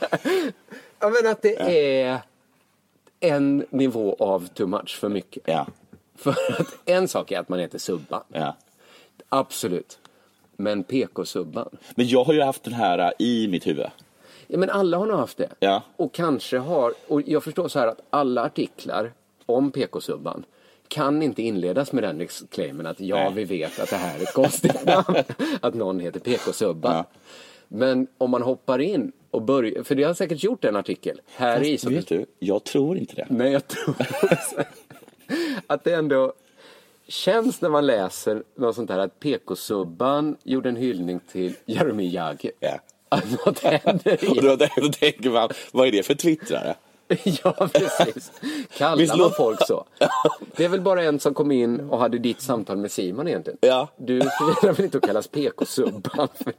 Speaker 6: Ja, men att det är en nivå av too much för mycket.
Speaker 5: Ja,
Speaker 6: För att en sak är att man heter subban.
Speaker 5: ja.
Speaker 6: Absolut. Men PK-subban.
Speaker 5: Men jag har ju haft den här äh, i mitt huvud.
Speaker 6: Ja, men alla har nog haft det.
Speaker 5: Ja.
Speaker 6: Och kanske har, och jag förstår så här att alla artiklar om PK-subban kan inte inledas med den disclaimern att ja,
Speaker 5: Nej.
Speaker 6: vi vet att det här är ett konstigt namn, att någon heter PK-subban.
Speaker 5: Ja.
Speaker 6: Men om man hoppar in och börjar, för det har säkert gjort en artikel, här i Typ. Mm.
Speaker 5: Fast, vet du, jag tror inte det.
Speaker 6: Men jag tror också att det ändå känns när man läser något sånt här att PK-subban gjorde en hyllning till Jaromir Jagr.
Speaker 5: Ja.
Speaker 6: Att något händer
Speaker 5: Och
Speaker 6: i
Speaker 5: då, då tänker man, vad är det för twittrare?
Speaker 6: Ja, precis.
Speaker 5: Visst
Speaker 6: Kallar man
Speaker 5: låter-
Speaker 6: folk så? Det är väl bara en som kom in och hade ditt samtal med Simon egentligen?
Speaker 5: Ja.
Speaker 6: Du förtjänar väl inte att kallas PK-subban?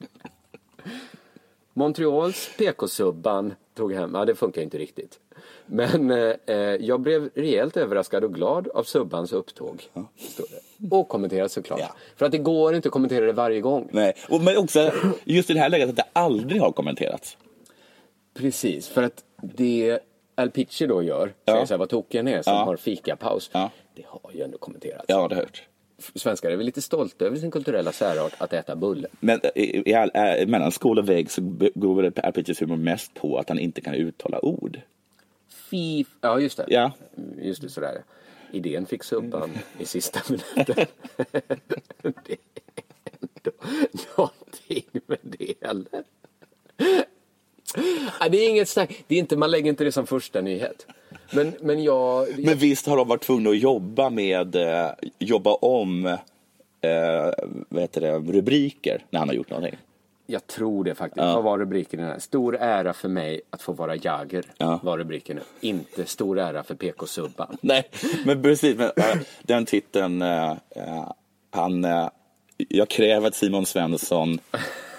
Speaker 6: Montreals PK-subban tog hem, ja det funkar ju inte riktigt. Men eh, eh, jag blev rejält överraskad och glad av subbans upptåg. Står det. Och kommenterade såklart.
Speaker 5: Ja.
Speaker 6: För att det går inte att kommentera det varje gång.
Speaker 5: Nej. Och, men också just i det här läget att det aldrig har kommenterats.
Speaker 6: Precis, för att det Al Pitcher då gör, säger så här, vad tokiga ni är som
Speaker 5: Ja.
Speaker 6: har fikapaus.
Speaker 5: Ja.
Speaker 6: Det har ju ändå kommenterats.
Speaker 5: Ja, det har jag hört.
Speaker 6: Svenskar är väl lite stolta över sin kulturella särart att äta bulle.
Speaker 5: Men eh, i, i, all- eh, mellan skål och vägg så be- går väl Per Pitchers humor mest på att han inte kan uttala ord.
Speaker 6: Fif. Ja, just det. Mm,
Speaker 5: Ja. Mm.
Speaker 6: Just det, sådär. Idén fick subban i sista minuten. det är ändå någonting med det, eller? Ja, det är inget snack. Det är inte, man lägger inte det som första nyhet. Men, men jag...
Speaker 5: Men visst har de varit tvungna att jobba med, eh, jobba om eh, vad heter det, rubriker när han har gjort någonting.
Speaker 6: Jag tror det faktiskt. Vad var rubriken i den här? Stor ära för mig att få vara Jagger.
Speaker 5: Ja.
Speaker 6: Var rubriken. Inte stor ära för PK-subban.
Speaker 5: Nej, men precis. Men, eh, den titeln, eh, eh, han, eh, jag kräver att Simon Svensson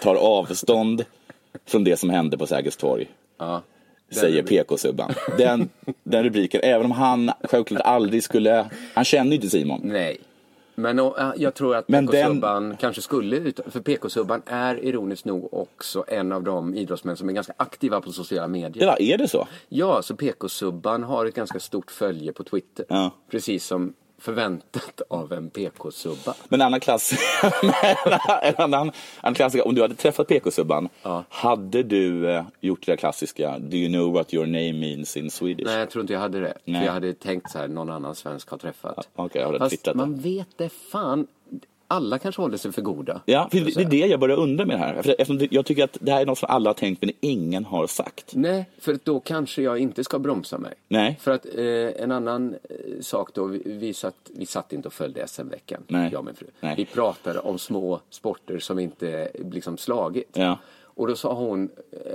Speaker 5: tar avstånd från det som hände på Sergels torg.
Speaker 6: Ja.
Speaker 5: Säger PK-subban. Den, den rubriken, även om han självklart aldrig skulle, han känner ju inte Simon.
Speaker 6: Nej. Men och, äh, jag tror att
Speaker 5: Men
Speaker 6: PK-subban kanske skulle ut, för PK-subban är ironiskt nog också en av de idrottsmän som är ganska aktiva på sociala medier.
Speaker 5: Ja, är det så?
Speaker 6: Ja, så PK-subban har ett ganska stort följe på Twitter.
Speaker 5: Ja.
Speaker 6: Precis som förväntat av en PK-subba.
Speaker 5: Men en annan klass, en annan, annan klassiker, om du hade träffat PK-subban, hade du eh, gjort det där klassiska Do you know what your name means in Swedish?
Speaker 6: Nej, jag tror inte jag hade det.
Speaker 5: Nej.
Speaker 6: För jag hade tänkt så här, någon annan svensk har träffat.
Speaker 5: Ja, okej, jag hade
Speaker 6: Fast
Speaker 5: twittrat det.
Speaker 6: man vet det fan. Alla kanske håller sig för goda.
Speaker 5: Ja, för
Speaker 6: så
Speaker 5: det,
Speaker 6: att
Speaker 5: det är
Speaker 6: säga.
Speaker 5: det jag börjar undra med det här. För Eftersom det, jag tycker att det här är något som alla har tänkt men ingen har sagt.
Speaker 6: Nej, för då kanske jag inte ska bromsa mig.
Speaker 5: Nej.
Speaker 6: För att eh, en annan eh, sak då, vi, vi, satt, vi satt inte och följde SM-veckan,
Speaker 5: Nej.
Speaker 6: jag och min fru.
Speaker 5: Nej.
Speaker 6: Vi pratade om små sporter som inte eh, liksom slagit.
Speaker 5: Ja.
Speaker 6: Och då sa hon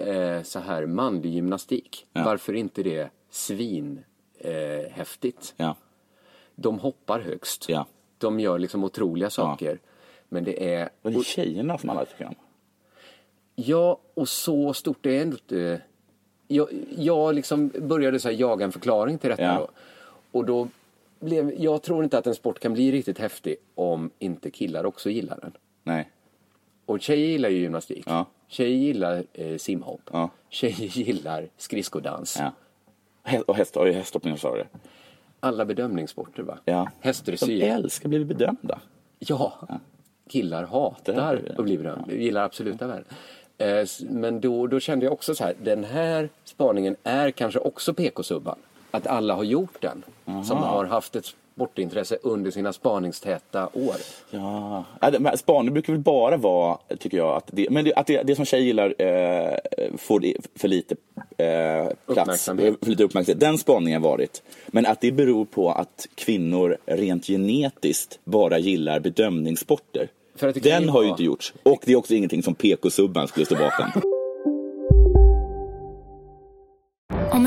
Speaker 6: eh, så här, manlig gymnastik,
Speaker 5: Ja.
Speaker 6: varför inte det svin eh, häftigt?
Speaker 5: Ja.
Speaker 6: De hoppar högst.
Speaker 5: Ja.
Speaker 6: De gör liksom otroliga saker. Men det är...
Speaker 5: Och det är tjejerna som alla tycker om.
Speaker 6: Ja, och så stort det är ändå inte. Jag, jag liksom började så här jaga en förklaring till detta.
Speaker 5: Ja.
Speaker 6: Då. Och då blev, jag tror inte att en sport kan bli riktigt häftig om inte killar också gillar den.
Speaker 5: Nej.
Speaker 6: Och tjejer gillar ju gymnastik.
Speaker 5: Ja.
Speaker 6: Tjejer gillar eh, simhopp.
Speaker 5: Ja.
Speaker 6: Tjejer gillar skridkodans.
Speaker 5: Ja. Hä- Och häst, och hästhoppning, sa du det?
Speaker 6: Alla bedömningssporter va?
Speaker 5: Ja.
Speaker 6: Hästdressyr.
Speaker 5: De älskar att bli bedömda.
Speaker 6: Ja. Killar
Speaker 5: Det här
Speaker 6: hatar
Speaker 5: blir det.
Speaker 6: att bli berömda. Gillar absoluta värden. Eh, s- Men då, då kände jag också så här, den här spaningen är kanske också PK-subban. Att alla har gjort den. Som har haft ett sportintresse under sina spaningstäta år.
Speaker 5: Ja. Ja, det- men Spaning brukar väl bara vara, tycker jag, att det, men det, att det, det som tjejer gillar eh, får det för lite eh, plats.
Speaker 6: Uppmärksamhet.
Speaker 5: För lite uppmärksamhet. Den spaningen har varit. Men att det beror på att kvinnor rent genetiskt bara gillar bedömningssporter.
Speaker 6: För att det kan
Speaker 5: Den
Speaker 6: ju
Speaker 5: har ju
Speaker 6: vara-
Speaker 5: inte gjorts. Och det är också ingenting som PK-subban skulle stå bakom.
Speaker 7: Om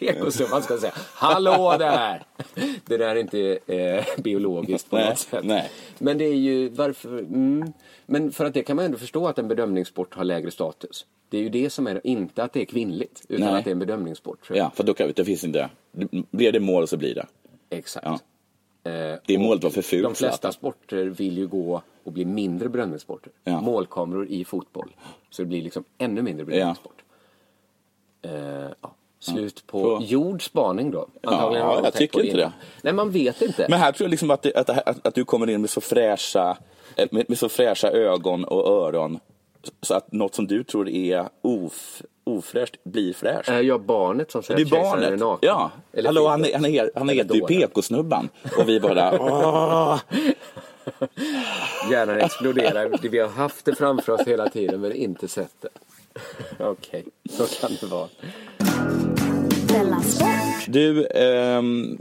Speaker 6: PK-subban ska säga, hallå där! Det där är inte eh, biologiskt på
Speaker 5: Nej,
Speaker 6: något sätt.
Speaker 5: nej.
Speaker 6: Men det är ju varför... Mm. Men för att det kan man ändå förstå att en bedömningssport har lägre status. Det är ju det som är, inte att det är kvinnligt, utan
Speaker 5: Nej.
Speaker 6: att det är en bedömningssport. tror jag.
Speaker 5: ja, för då kan, det finns inte... Blir det mål så blir det.
Speaker 6: Exakt.
Speaker 5: Ja.
Speaker 6: Eh,
Speaker 5: Det
Speaker 6: och
Speaker 5: målet var för fult,
Speaker 6: De flesta
Speaker 5: Zlatan.
Speaker 6: sporter vill ju gå och bli mindre bedömningssporter.
Speaker 5: Ja.
Speaker 6: Målkameror i fotboll. Så det blir liksom ännu mindre bedömningssport. Eh, ja. Slut på
Speaker 5: Så.
Speaker 6: jord spaning då.
Speaker 5: Ja,
Speaker 6: har de
Speaker 5: jag
Speaker 6: tänkt på
Speaker 5: tycker inte det.
Speaker 6: Nej, man vet inte.
Speaker 5: Men här tror jag liksom att, det, att, det här- att, att du kommer in med så, fräscha, eh, med, med så fräscha ögon och öron så att något som du tror är of, ofräscht blir fräscht.
Speaker 6: Eh, ja, barnet som
Speaker 5: Det
Speaker 6: säger
Speaker 5: är barnet. Ja.
Speaker 6: Eller
Speaker 5: Hallå,
Speaker 6: fint.
Speaker 5: han, är- han, är, han
Speaker 6: Eller
Speaker 5: heter ju
Speaker 6: dåren.
Speaker 5: PK-snubban. Och vi bara... "Åh."
Speaker 6: Hjärnan exploderar. Vi har haft det framför oss hela tiden men inte sett det. Okej, så kan det vara.
Speaker 4: Della Sport.
Speaker 5: Du, ehm,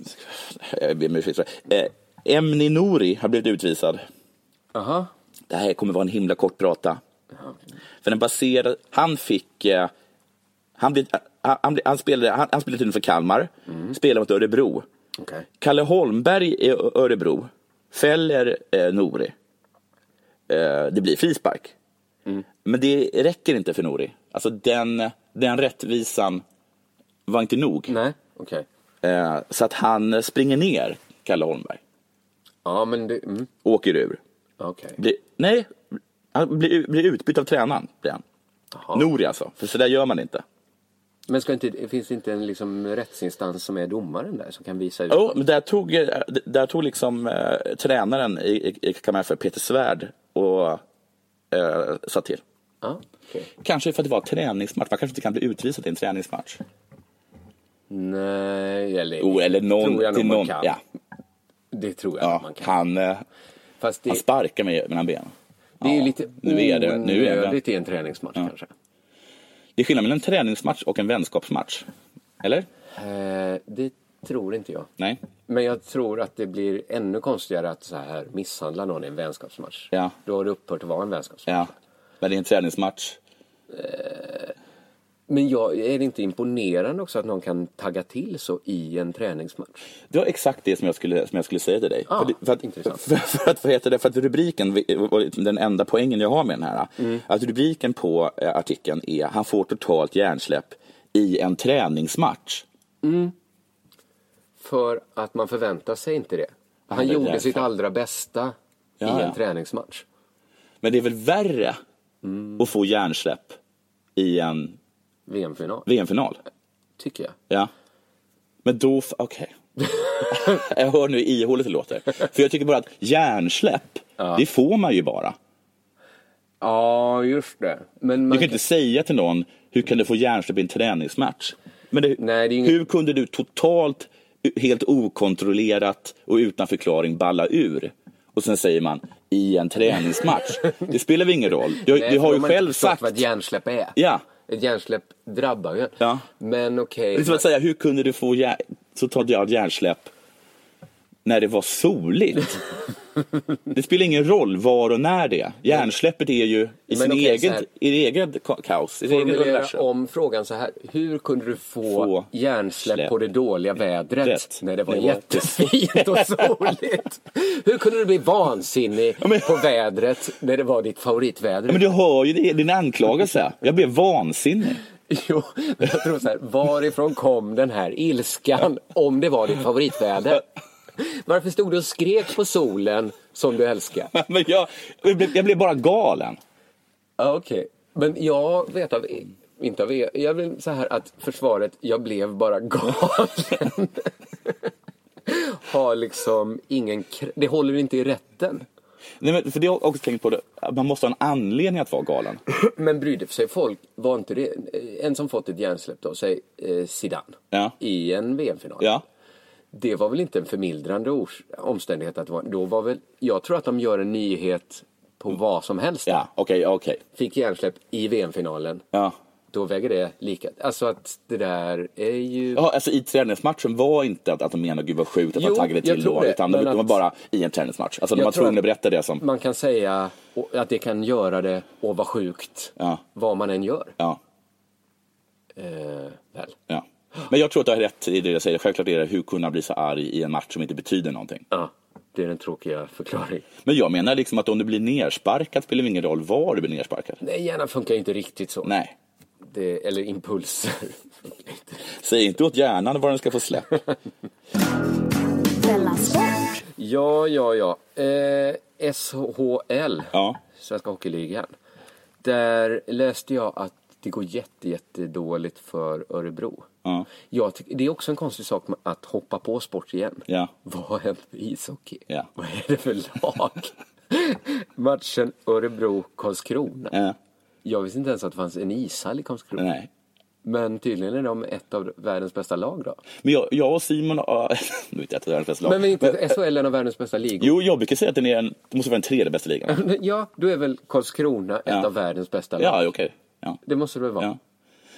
Speaker 5: jag ber om ursäkt för det. Eh, Emni Nouri har blivit utvisad.
Speaker 6: Aha.
Speaker 5: Det här kommer vara en himla kort prata. För den baserade, han fick, eh, han, blev, han, han, blev- han spelade, han, han spelade tydligen för Kalmar, spelade mot Örebro.
Speaker 6: Okej.
Speaker 5: Kalle Holmberg i Ö- Örebro fäller eh, Nori. Eh, det blir frispark. Men det räcker inte för Nori. Alltså den, den rättvisan var inte nog.
Speaker 6: Nej, okej.
Speaker 5: Eh, så att han springer ner, Kalle Holmberg,
Speaker 6: Ja, men det... Mm.
Speaker 5: åker ur.
Speaker 6: Okej.
Speaker 5: Blir, nej, han blir, blir utbytt av tränaren. Blir han. Nori alltså, för så där gör man inte.
Speaker 6: Men ska inte, finns det inte en liksom rättsinstans som är domaren där som kan visa ut?
Speaker 5: Jo, men där tog, eh, där tog liksom eh, tränaren i, i, i Kalmar FF, Peter Svärd, och eh, sa till.
Speaker 6: Ja, okej.
Speaker 5: Kanske för att det var träningsmatch. Man kanske inte kan bli utvisad i en träningsmatch.
Speaker 6: Nej, eller,
Speaker 5: Jo, eller någon,
Speaker 6: tror jag nog
Speaker 5: till någon,
Speaker 6: man kan.
Speaker 5: Ja,
Speaker 6: Det tror jag
Speaker 5: ja,
Speaker 6: att man
Speaker 5: han,
Speaker 6: kan.
Speaker 5: eh,
Speaker 6: Fast det,
Speaker 5: han sparkar mig mellan benen.
Speaker 6: det är ju
Speaker 5: Ja,
Speaker 6: lite
Speaker 5: nu är det, nu är det.
Speaker 6: onödigt i en träningsmatch kanske.
Speaker 5: det är skillnad mellan en träningsmatch och en vänskapsmatch. Eller?
Speaker 6: Eh, det tror inte jag.
Speaker 5: Nej?
Speaker 6: Men jag tror att det blir ännu konstigare att så här misshandla någon i en vänskapsmatch.
Speaker 5: Ja.
Speaker 6: Då har det upphört att vara en vänskapsmatch.
Speaker 5: Ja. Men det är en träningsmatch.
Speaker 6: Men jag, är det inte imponerande också att någon kan tagga till så i en träningsmatch?
Speaker 5: Det var exakt det som jag skulle, som jag skulle säga till dig.
Speaker 6: Ah,
Speaker 5: för, det- för,
Speaker 6: intressant.
Speaker 5: att, för, för, att, vad heter det, för att rubriken var den enda poängen jag har med den här.
Speaker 6: Mm.
Speaker 5: Att rubriken på eh, artikeln är Han får totalt hjärnsläpp i en träningsmatch.
Speaker 6: För att man förväntar sig inte det. Han,
Speaker 5: hade
Speaker 6: gjorde
Speaker 5: det
Speaker 6: sitt
Speaker 5: för-
Speaker 6: allra bästa i
Speaker 5: Ja,
Speaker 6: en
Speaker 5: ja.
Speaker 6: träningsmatch.
Speaker 5: Men det är väl värre
Speaker 6: Mm.
Speaker 5: att få hjärnsläpp i en
Speaker 6: VM-final,
Speaker 5: VM-final?
Speaker 6: tycker jag.
Speaker 5: Ja. Men då, f- okej. jag hör nu hur ihåligt det låter. För jag tycker bara att hjärnsläpp, det får man ju bara.
Speaker 6: Ja, just det. Men
Speaker 5: Du
Speaker 6: man
Speaker 5: kan inte säga till någon, hur kan du få hjärnsläpp i en träningsmatch? Men det,
Speaker 6: Nej, det är inget-
Speaker 5: hur kunde du totalt, helt okontrollerat och utan förklaring balla ur? Och sen säger man, i en träningsmatch. det spelar väl ingen roll? Du,
Speaker 6: Nej,
Speaker 5: du
Speaker 6: för
Speaker 5: har
Speaker 6: då
Speaker 5: ju
Speaker 6: man inte
Speaker 5: själv
Speaker 6: förstått
Speaker 5: sagt.
Speaker 6: vad ett hjärnsläpp är.
Speaker 5: Ja.
Speaker 6: Ett hjärnsläpp drabbar ju.
Speaker 5: Ja.
Speaker 6: Men okej.
Speaker 5: Det är som att säga, hur kunde du få hjär... totalt hjär- hjärnsläpp när det var soligt? det spelar ingen roll var och när det är. Hjärnsläppet är ju i
Speaker 6: Men
Speaker 5: sin
Speaker 6: okej, så
Speaker 5: egen,
Speaker 6: här.
Speaker 5: i sin egen ka- kaos, i sin egen
Speaker 6: Formulera
Speaker 5: universum.
Speaker 6: om frågan så här. Hur kunde du få,
Speaker 5: Få
Speaker 6: hjärnsläpp
Speaker 5: släpp.
Speaker 6: på det dåliga vädret
Speaker 5: Rätt.
Speaker 6: när det var
Speaker 5: Det var-
Speaker 6: jättefint och soligt? hur kunde du bli vansinnig
Speaker 5: men-
Speaker 6: på vädret när det var ditt favoritväder?
Speaker 5: Ja, men du hör ju din- din anklagelse. Jag blev vansinnig.
Speaker 6: Jo, men jag tror så här, varifrån kom den här ilskan om det var ditt favoritväder? Varför stod du och skrek på solen som du älskar?
Speaker 5: Men jag, jag, blev, jag blev bara galen.
Speaker 6: Ja, Okej, men jag vet av, e- inte av er, jag vill så här att försvaret, jag blev bara galen. Har liksom ingen, kr- det håller inte i rätten.
Speaker 5: Nej, men för det har jag också tänkt på, det. att man måste ha en anledning att vara galen.
Speaker 6: Men brydde sig folk, var inte det, en som fått ett hjärnsläpp då, säg eh, Zidane,
Speaker 5: Ja.
Speaker 6: i en VM-final.
Speaker 5: Ja.
Speaker 6: det var väl inte en förmildrande ors- omständighet att det var, då var väl, jag tror att de gör en nyhet på vad som helst.
Speaker 5: Mm. Ja, okej, okej.
Speaker 6: Fick hjärnsläpp i VM-finalen,
Speaker 5: Ja.
Speaker 6: då väger det lika. Alltså att det där är ju...
Speaker 5: Ja, alltså i träningsmatchen var inte att, att de menade gud vad sjukt att
Speaker 6: Jo,
Speaker 5: de taggade
Speaker 6: jag
Speaker 5: till
Speaker 6: tror
Speaker 5: då,
Speaker 6: det,
Speaker 5: utan de,
Speaker 6: men
Speaker 5: de var
Speaker 6: att-
Speaker 5: bara i en träningsmatch. Alltså de
Speaker 6: Jag
Speaker 5: var
Speaker 6: tror
Speaker 5: tvungna att
Speaker 6: att-
Speaker 5: berätta det som,
Speaker 6: Man kan säga och- att det kan göra det och vara sjukt
Speaker 5: Ja.
Speaker 6: vad man än gör.
Speaker 5: ja,
Speaker 6: Eh, väl.
Speaker 5: ja. Men jag tror att du har rätt i det jag säger. Självklart är det hur kunna bli så arg i en match som inte betyder någonting.
Speaker 6: Ja, det är den tråkiga förklaringen.
Speaker 5: Men jag menar liksom att om du blir nersparkad spelar det ingen roll var du blir nersparkad.
Speaker 6: Nej, hjärnan funkar ju inte riktigt så.
Speaker 5: Nej,
Speaker 6: Det, eller impulser. funkar inte.
Speaker 5: säg inte åt hjärnan var den ska få släpp.
Speaker 4: Della Sport!
Speaker 6: Ja, ja, ja. Eh, SHL,
Speaker 5: Ja.
Speaker 6: Svenska Hockeyligan. Där läste jag att det går jätte, jättedåligt för Örebro.
Speaker 5: Ja.
Speaker 6: Jag tyck- det är också en konstig sak med att hoppa på sport igen.
Speaker 5: Ja.
Speaker 6: Vad hände med ishockey?
Speaker 5: Ja.
Speaker 6: Vad är det för lag? Matchen Örebro-Karlskrona.
Speaker 5: Ja.
Speaker 6: Jag visste inte ens att det fanns en ishall i Karlskrona.
Speaker 5: Eh, Nej.
Speaker 6: Men tydligen är de ett av världens bästa lag då.
Speaker 5: Men jag, jag och Simon, äh, nu vet jag inte hur det är lag.
Speaker 6: Men, men inte SHL är en av världens bästa ligor?
Speaker 5: Jo, jag brukar säga att den är en, det måste vara den tredje bästa ligan.
Speaker 6: Ja, då är väl Karlskrona ett
Speaker 5: Ja.
Speaker 6: av världens bästa lag?
Speaker 5: Ja, okej. Ja.
Speaker 6: Det måste det väl vara?
Speaker 5: Ja.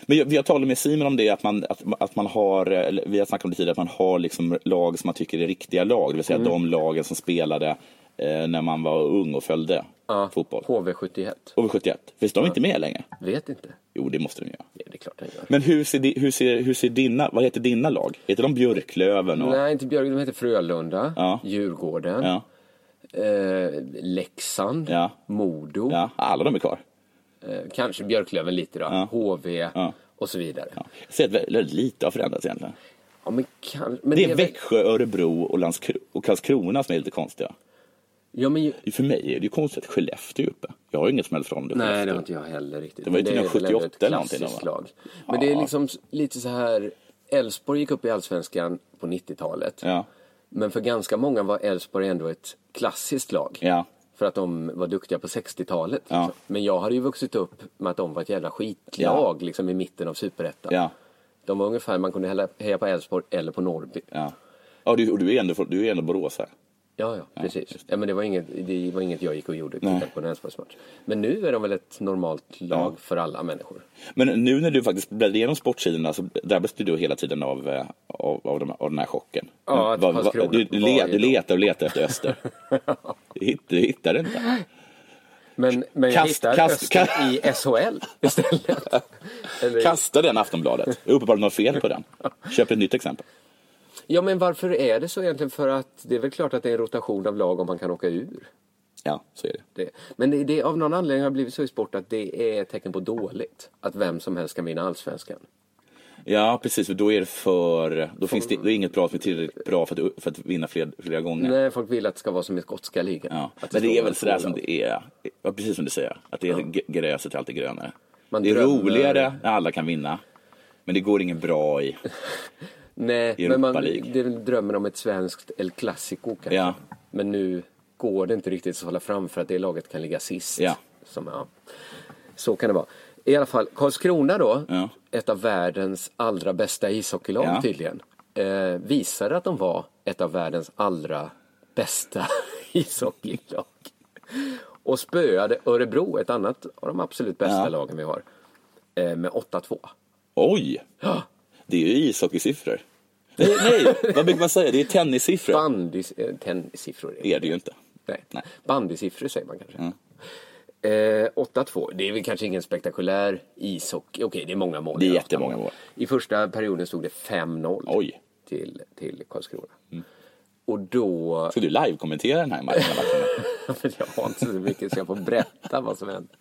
Speaker 5: Men jag, jag talade med Simon om det, att man, att, att man har, eller vi har snackat om det tidigare, att man har liksom lag som man tycker är riktiga lag, det vill
Speaker 6: Mm.
Speaker 5: säga de lagen som spelade eh, när man var ung och följde
Speaker 6: Ja,
Speaker 5: fotboll.
Speaker 6: HV71.
Speaker 5: HV71, finns de inte med längre?
Speaker 6: Vet inte.
Speaker 5: Jo, det måste de göra.
Speaker 6: Ja, det är klart han gör.
Speaker 5: Men hur ser, di- hur ser, hur ser dina, vad heter dina lag? Heter de Björklöven? Och,
Speaker 6: Nej, inte Björk. De heter Frölunda,
Speaker 5: Ja.
Speaker 6: Djurgården,
Speaker 5: Ja,
Speaker 6: eh, Leksand,
Speaker 5: Ja.
Speaker 6: Modo,
Speaker 5: ja, alla de är kvar.
Speaker 6: eh, kanske Björklöven lite då, HV och så vidare. Ja.
Speaker 5: Ja. Jag ser att väldigt lite har förändrats egentligen.
Speaker 6: men kan, men
Speaker 5: Det är
Speaker 6: väl-
Speaker 5: Växjö, Örebro och, Landskro- och Karlskrona som är lite konstiga.
Speaker 6: Ja, men ju...
Speaker 5: För mig är det ju konstigt att Skellefteå är uppe. Jag har ju inget som helst förhållande till
Speaker 6: Nej, det
Speaker 5: Skellefteå.
Speaker 6: var inte jag heller riktigt.
Speaker 5: Det var ju
Speaker 6: Men
Speaker 5: till
Speaker 6: är väl
Speaker 5: 78
Speaker 6: ändå ett
Speaker 5: eller någonting,
Speaker 6: klassiskt
Speaker 5: va?
Speaker 6: lag. Men det är
Speaker 5: Ja.
Speaker 6: liksom s- lite så här, Elfsborg gick upp i Allsvenskan på 90-talet.
Speaker 5: Ja.
Speaker 6: Men för ganska många var Elfsborg ändå ett klassiskt lag.
Speaker 5: Ja.
Speaker 6: För att de var duktiga på 60-talet.
Speaker 5: Ja.
Speaker 6: Liksom. Men jag hade ju vuxit upp med att de var ett jävla skitlag liksom, i mitten av superettan.
Speaker 5: Ja.
Speaker 6: De var ungefär, man kunde hella- heja på Elfsborg eller på Norrby.
Speaker 5: Ja. Ja, du, och du är ändå, från- du är ändå boråsare.
Speaker 6: Ja, ja, precis. Ja, men det, var inget, det var inget jag gick och gjorde
Speaker 5: Nej.
Speaker 6: tittade på en Elfsborgsmatch. Men nu är de väl ett normalt lag för alla människor.
Speaker 5: Men nu när du faktiskt bläddrar igenom sportsidorna så drabbas du då hela tiden av, eh, av, av, de, av den här chocken.
Speaker 6: Ja, att Karlskrona
Speaker 5: du, du,
Speaker 6: var
Speaker 5: le,
Speaker 6: ju
Speaker 5: du
Speaker 6: då.
Speaker 5: letar och letar efter Öster. du, hittar, du hittar det inte.
Speaker 6: Men, men jag
Speaker 5: Kast-
Speaker 6: hittar
Speaker 5: kast-
Speaker 6: Öster
Speaker 5: kast-
Speaker 6: i SHL istället. Eller,
Speaker 5: Kasta den Aftonbladet. Det är uppenbarligen något fel på den. Köp ett nytt exempel.
Speaker 6: Ja, men varför är det så egentligen? För att det är väl klart att det är en rotation av lag om man kan åka ur.
Speaker 5: Ja, så är det.
Speaker 6: Det. Men det, det, av någon anledning har det blivit så i sport att det är ett tecken på dåligt. Att vem som helst kan vinna allsvenskan.
Speaker 5: Ja, precis. För då är det för... Då finns det, då är inget bra som är tillräckligt bra för att, för att vinna fler, flera gånger.
Speaker 6: Nej, folk vill att det ska vara som i skotska ligan.
Speaker 5: Ja.
Speaker 6: Att
Speaker 5: Men det
Speaker 6: ska
Speaker 5: är
Speaker 6: vara
Speaker 5: väl sådär som
Speaker 6: två lag.
Speaker 5: det är. Ja, precis som du säger. Att det är g- gräset är alltid grönare.
Speaker 6: Man
Speaker 5: det är
Speaker 6: drömmer.
Speaker 5: roligare när alla kan vinna. Men det går ingen bra i.
Speaker 6: Nej,
Speaker 5: Europa
Speaker 6: men man,
Speaker 5: League.
Speaker 6: det är väl drömmen om ett svenskt El Clasico kanske.
Speaker 5: Ja.
Speaker 6: Men nu går det inte riktigt att hålla fram för att det laget kan ligga sist.
Speaker 5: Ja.
Speaker 6: Som, ja. Så kan det vara. I alla fall, Karlskrona då,
Speaker 5: Ja.
Speaker 6: ett av världens allra bästa ishockeylag
Speaker 5: Ja.
Speaker 6: tydligen, eh, visade att de var ett av världens allra bästa ishockeylag. Och spöade Örebro, ett annat av de absolut bästa
Speaker 5: Ja.
Speaker 6: lagen vi har, eh, med 8-2.
Speaker 5: Oj! Det är ju ishockeysiffror. Nej, nej, vad brukar man säga? Det är tennissiffror.
Speaker 6: Bandy, eh, tennissiffror är det.
Speaker 5: Det är det ju inte.
Speaker 6: Nej.
Speaker 5: Nej.
Speaker 6: Bandysiffror säger man
Speaker 5: Mm.
Speaker 6: kanske. Eh, 8-2, det är väl kanske ingen spektakulär ishockey. Okej, det är många mål.
Speaker 5: Det är
Speaker 6: Ja,
Speaker 5: jättemånga mål.
Speaker 6: I första perioden stod det 5-0
Speaker 5: Oj. Mm.
Speaker 6: till, till Karlskrona. Och då...
Speaker 5: Ska du live-kommentera den här matchen?
Speaker 6: För jag har inte så mycket så jag får berätta vad som hände.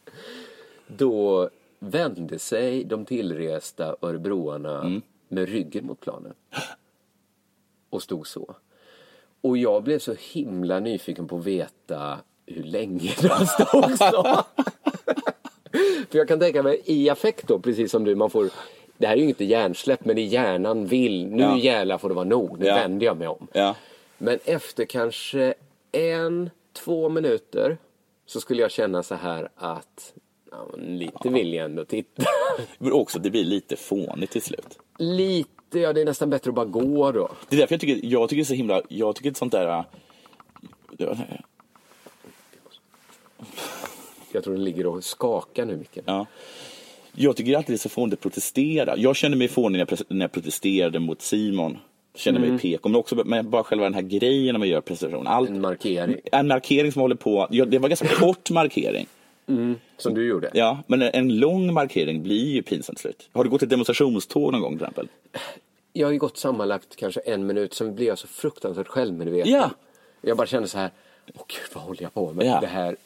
Speaker 6: Då vände sig de tillresta örebroarna
Speaker 5: Mm.
Speaker 6: med ryggen mot planen. Och stod så. Och jag blev så himla nyfiken på att veta hur länge de stod så. För jag kan tänka mig i affekt då, precis som du, man får det här är ju inte hjärnsläpp, men i hjärnan vill, nu
Speaker 5: Ja.
Speaker 6: jävlar får det vara nog, nu
Speaker 5: Ja.
Speaker 6: vänder jag mig om.
Speaker 5: Ja.
Speaker 6: Men efter kanske en, två minuter så skulle jag känna så här att ja, men lite vill jag ändå titta.
Speaker 5: Men också, det blir lite fånigt till slut.
Speaker 6: lite, ja det är nästan bättre att bara gå då.
Speaker 5: Det är därför jag tycker, jag tycker det är så himla, jag tycker ett sånt där... äh,
Speaker 6: Jag tror den ligger och skakar nu Micke.
Speaker 5: Ja. Jag tycker alltid det är så fånigt att protestera. Jag kände mig fånig när jag, pres- när jag protesterade mot Simon. Kände
Speaker 6: Mm.
Speaker 5: mig PK. Men också men bara själva den här grejen när man gör presentation. Allt,
Speaker 6: En markering
Speaker 5: en markering som håller på, ja, det var ganska kort markering.
Speaker 6: som du gjorde.
Speaker 5: Ja, men en- en lång markering blir ju pinsamt slut. Har du gått ett demonstrationståg någon gång till exempel?
Speaker 6: Jag har ju gått sammanlagt kanske en minut, sen blev jag så fruktansvärt självmedveten.
Speaker 5: Ja.
Speaker 6: Jag bara kände så här, åh gud vad håller jag på med?
Speaker 5: Ja.
Speaker 6: Det här,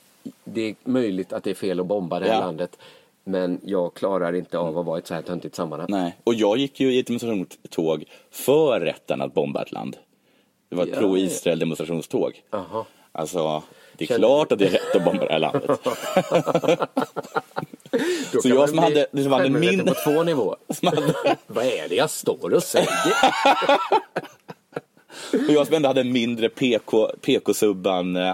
Speaker 6: det är möjligt att det är fel att bomba det här
Speaker 5: Ja.
Speaker 6: landet. Men jag klarar inte av att vara i ett så här töntigt sammanhang.
Speaker 5: Nej. Och jag gick ju i ett demonstrationståg för rätten att bomba ett land. Det var ett
Speaker 6: Ja.
Speaker 5: pro-Israel demonstrationståg.
Speaker 6: Jaha.
Speaker 5: Alltså, det är
Speaker 6: Känner-
Speaker 5: klart att det är rätt att bomba det här landet.
Speaker 6: Då
Speaker 5: Så
Speaker 6: kan
Speaker 5: jag
Speaker 6: man
Speaker 5: som
Speaker 6: bli
Speaker 5: hade- det som hade
Speaker 6: självmedveten
Speaker 5: mindre-
Speaker 6: på två nivåer.
Speaker 5: Som hade-
Speaker 6: Vad är det jag står och säger?
Speaker 5: Och jag som ändå hade en mindre PK, PK-subban eh,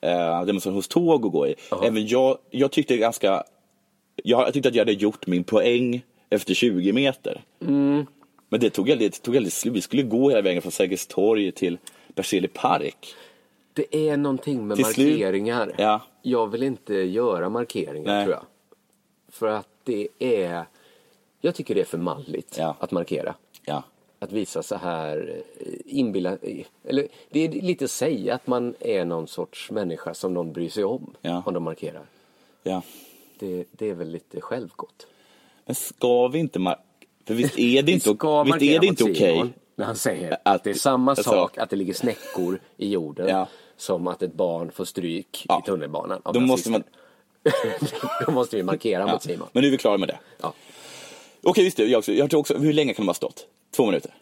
Speaker 5: eh, demonstrationståg att gå i. Även jag, jag tyckte ganska, jag tyckte att jag hade gjort min poäng efter 20 meter.
Speaker 6: Mm.
Speaker 5: Men det tog aldrig, det tog aldrig slut. Vi skulle gå hela vägen från Sergels torg till Berzelii park.
Speaker 6: Det är någonting med
Speaker 5: Till slut-
Speaker 6: markeringar.
Speaker 5: Ja.
Speaker 6: Jag vill inte göra markeringar
Speaker 5: Nej.
Speaker 6: tror jag. För att det är... Jag tycker det är för malligt
Speaker 5: Ja.
Speaker 6: att markera.
Speaker 5: Ja.
Speaker 6: Att visa så här, eh, inbilla... eh, Eller det är lite att säga att man är någon sorts människa som någon bryr sig om.
Speaker 5: Ja.
Speaker 6: Om de markerar.
Speaker 5: ja.
Speaker 6: Det, det är väl lite självgott.
Speaker 5: Men ska vi inte mar- För visst är det inte,
Speaker 6: Vi ska
Speaker 5: visst
Speaker 6: markera
Speaker 5: är det
Speaker 6: mot
Speaker 5: inte okej?
Speaker 6: Simon När han säger
Speaker 5: Att-
Speaker 6: att det är samma
Speaker 5: alltså-
Speaker 6: sak att det ligger snäckor i jorden
Speaker 5: Ja.
Speaker 6: som att ett barn får stryk
Speaker 5: Ja.
Speaker 6: i tunnelbanan. av
Speaker 5: Då måste
Speaker 6: nazister. Då måste vi markera
Speaker 5: Ja.
Speaker 6: mot Simon.
Speaker 5: Men nu är vi klara med det.
Speaker 6: Ja.
Speaker 5: Okej, just det. Jag också, jag tror också, hur länge kan de ha stått? Två minuter?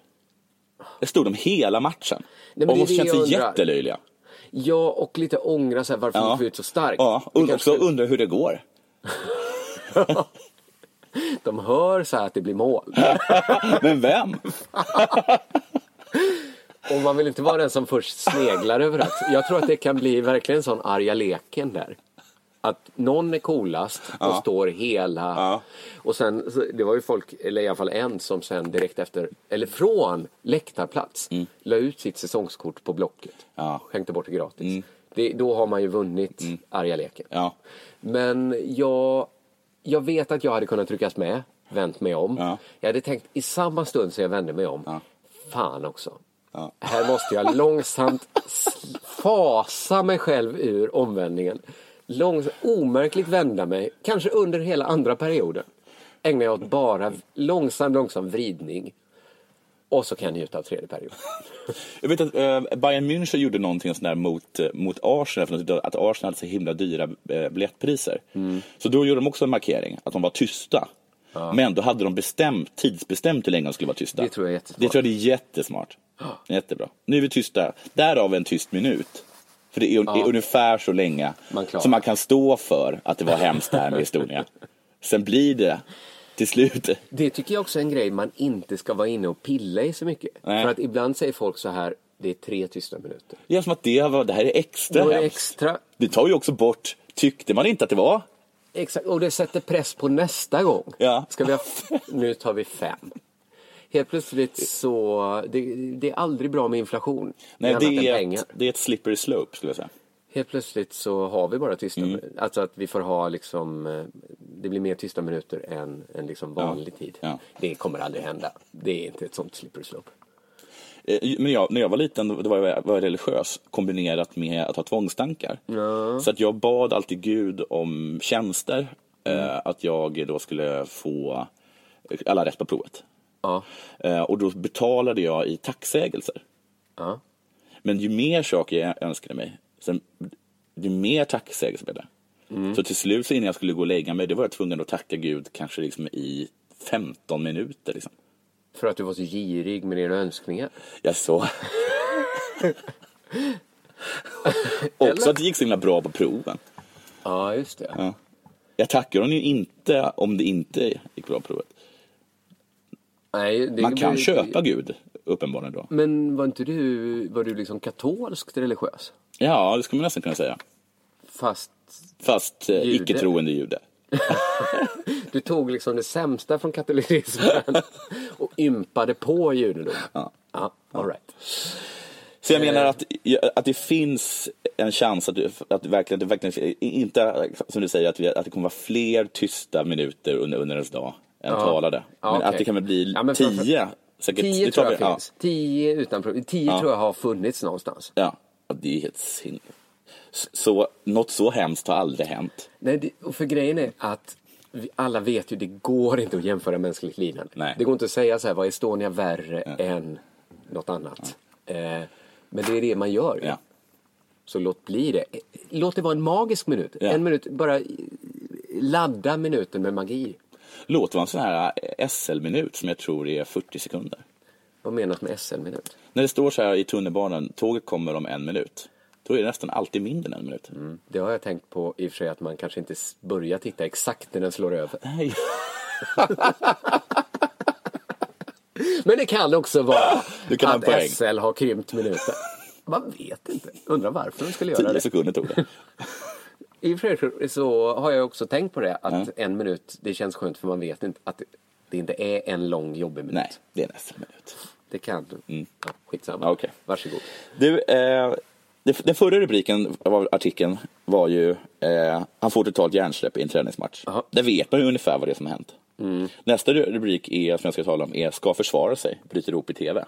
Speaker 5: Det stod de hela matchen.
Speaker 6: men
Speaker 5: och
Speaker 6: det är
Speaker 5: måste
Speaker 6: det
Speaker 5: känna
Speaker 6: jag
Speaker 5: sig
Speaker 6: undrar.
Speaker 5: jättelöjliga.
Speaker 6: Ja, och lite ångra så här, varför gick vi ut så starkt?
Speaker 5: Ja,
Speaker 6: Vi
Speaker 5: och också
Speaker 6: kanske-
Speaker 5: undrar hur det går.
Speaker 6: De hör så här att det blir mål.
Speaker 5: Men vem?
Speaker 6: Och man vill inte vara den som först sneglar överallt. Jag tror att det kan bli verkligen en sån arga leken där. Att någon är coolast och står hela. Och sen, så- det var ju folk, eller i alla fall en, som sen direkt efter, eller från läktarplats, la ut sitt säsongskort på Blocket.
Speaker 5: Mm. Ja. Mm.
Speaker 6: Skänkte bort det gratis. Det, då har man ju vunnit arga leken.
Speaker 5: Ja.
Speaker 6: Men jag, jag vet att jag hade kunnat tryckas med, vänt mig om.
Speaker 5: Ja.
Speaker 6: Jag hade tänkt i samma stund som jag vände mig om,
Speaker 5: Ja.
Speaker 6: fan också.
Speaker 5: Ja.
Speaker 6: Här måste jag långsamt s- fasa mig själv ur omvändningen. Långs omärkligt vända mig, kanske under hela andra perioden. Ägnar jag åt bara långsam, långsam vridning. Och så kan jag njuta av tredje perioden.
Speaker 5: Jag vet att eh, Bayern München gjorde någonting sån där mot, eh, mot Arsenal, för att- att Arsenal hade så himla dyra eh, biljettpriser.
Speaker 6: Mm.
Speaker 5: Så då gjorde de också en markering, att de var tysta. Men då hade de bestämt, tidsbestämt hur länge de skulle vara tysta.
Speaker 6: Det tror jag är jättesmart.
Speaker 5: Det tror jag är jättesmart. Jättebra. Nu är vi tysta, därav en tyst minut. För det är, det är ungefär så länge
Speaker 6: Man klarar.
Speaker 5: som man kan stå för att det var hemskt det här med Estonia. Sen blir det till slut
Speaker 6: Det tycker jag också är en grej man inte ska vara inne och pilla i så mycket.
Speaker 5: Nej.
Speaker 6: För att ibland säger folk så här, det är tre tysta minuter.
Speaker 5: Det är som att det, var, det här är extra
Speaker 6: Då är det
Speaker 5: hemskt.
Speaker 6: extra.
Speaker 5: Det tar ju också bort, tyckte man inte att det var?
Speaker 6: Exakt, och det sätter press på nästa gång.
Speaker 5: Ja.
Speaker 6: Ska vi ha f- nu tar vi fem. Helt plötsligt så, det, det är aldrig bra med inflation.
Speaker 5: Nej,
Speaker 6: annat
Speaker 5: det
Speaker 6: än
Speaker 5: är,
Speaker 6: pengar.
Speaker 5: ett, det är ett slippery slope skulle jag säga.
Speaker 6: Helt plötsligt så har vi bara tysta
Speaker 5: Mm.
Speaker 6: minuter. Alltså att vi får ha liksom, eh, det blir mer tysta minuter än, än liksom vanlig tid.
Speaker 5: Ja.
Speaker 6: Det kommer aldrig hända. Det är inte ett sånt slippery slope.
Speaker 5: Eh, Men jag, när jag var liten då var jag, var jag religiös kombinerat med att ha tvångstankar. Så att jag bad alltid Gud om tjänster. Eh, att jag då skulle få eh, alla rätt på provet.
Speaker 6: Ja.
Speaker 5: Eh, och då betalade jag i tacksägelser.
Speaker 6: Ja.
Speaker 5: Men ju mer saker jag önskade mig, sen, ju mer tacksägelser blev det.
Speaker 6: Mm.
Speaker 5: Så till slut så innan jag skulle gå och lägga mig, då var jag tvungen att tacka Gud kanske liksom i 15 minuter. Liksom.
Speaker 6: För att du var så girig med dina önskningar.
Speaker 5: Jag så. Också att det gick så himla bra på proven.
Speaker 6: Ja, just det.
Speaker 5: Jag tackar honom ju inte om det inte gick bra på provet.
Speaker 6: Nej, det
Speaker 5: Man kan
Speaker 6: blir-
Speaker 5: köpa Gud, uppenbarligen då.
Speaker 6: Men var inte du, var du liksom katolskt religiös?
Speaker 5: Ja, det skulle man nästan kunna säga.
Speaker 6: Fast
Speaker 5: Fast eh,
Speaker 6: Jude.
Speaker 5: icke-troende jude.
Speaker 6: du tog liksom det sämsta från katolicismen och ympade på judendom. Ja. all right.
Speaker 5: Så
Speaker 6: Eh.
Speaker 5: jag menar att, att det finns en chans att, du- att, verkligen, att det verkligen, inte som du säger, att, vi, att det kommer vara fler tysta minuter under, under ens dag än talade.
Speaker 6: Ja,
Speaker 5: men
Speaker 6: okej.
Speaker 5: att det kan bli
Speaker 6: Ja, men framför-
Speaker 5: tio, säkert.
Speaker 6: Tio
Speaker 5: det
Speaker 6: tror jag
Speaker 5: vi- ja.
Speaker 6: finns. Tio utan problem. Tio tror jag har funnits någonstans.
Speaker 5: Ja, och det är helt sinne. S- Så något så hemskt har aldrig hänt.
Speaker 6: Nej, det, och för grejen är att vi alla vet ju, det går inte att jämföra mänskligt lidande.
Speaker 5: Nej.
Speaker 6: Det går inte att säga så här, var Estonia värre än något annat? Eh, men det är det man gör. ju.
Speaker 5: Ja.
Speaker 6: Så låt bli det. Låt det vara en magisk minut.
Speaker 5: Ja.
Speaker 6: En minut, bara ladda minuten med magi.
Speaker 5: Låt vara en sån här eh, SL-minut som jag tror är 40 sekunder.
Speaker 6: Vad menas med SL-minut?
Speaker 5: När det står så här i tunnelbanan, tåget kommer om en minut. Då är det nästan alltid mindre än en minut.
Speaker 6: Det har jag tänkt på i och för sig att man kanske inte s- börjar titta exakt när den slår över.
Speaker 5: Nej.
Speaker 6: Men det kan också vara
Speaker 5: Du kan ha en poäng.
Speaker 6: att SL har krympt minuten. Man vet inte. Undrar varför de skulle göra
Speaker 5: 10
Speaker 6: det.
Speaker 5: sekunder tog det.
Speaker 6: I och för sig så har jag också tänkt på det att en minut, det känns skönt för man vet inte att det inte är en lång jobbig minut.
Speaker 5: Nej, det är en SL-minut.
Speaker 6: Det kan du. Ja, skitsamma.
Speaker 5: Ja, okej.
Speaker 6: Varsågod.
Speaker 5: Du, eh, det- den förra rubriken av artikeln var ju eh, Han får totalt hjärnsläpp i en träningsmatch.
Speaker 6: Jaha.
Speaker 5: Där vet man ju ungefär vad det är som har hänt. Nästa ru- rubrik är, som jag ska tala om är Ska försvara sig, bryter ihop i TV.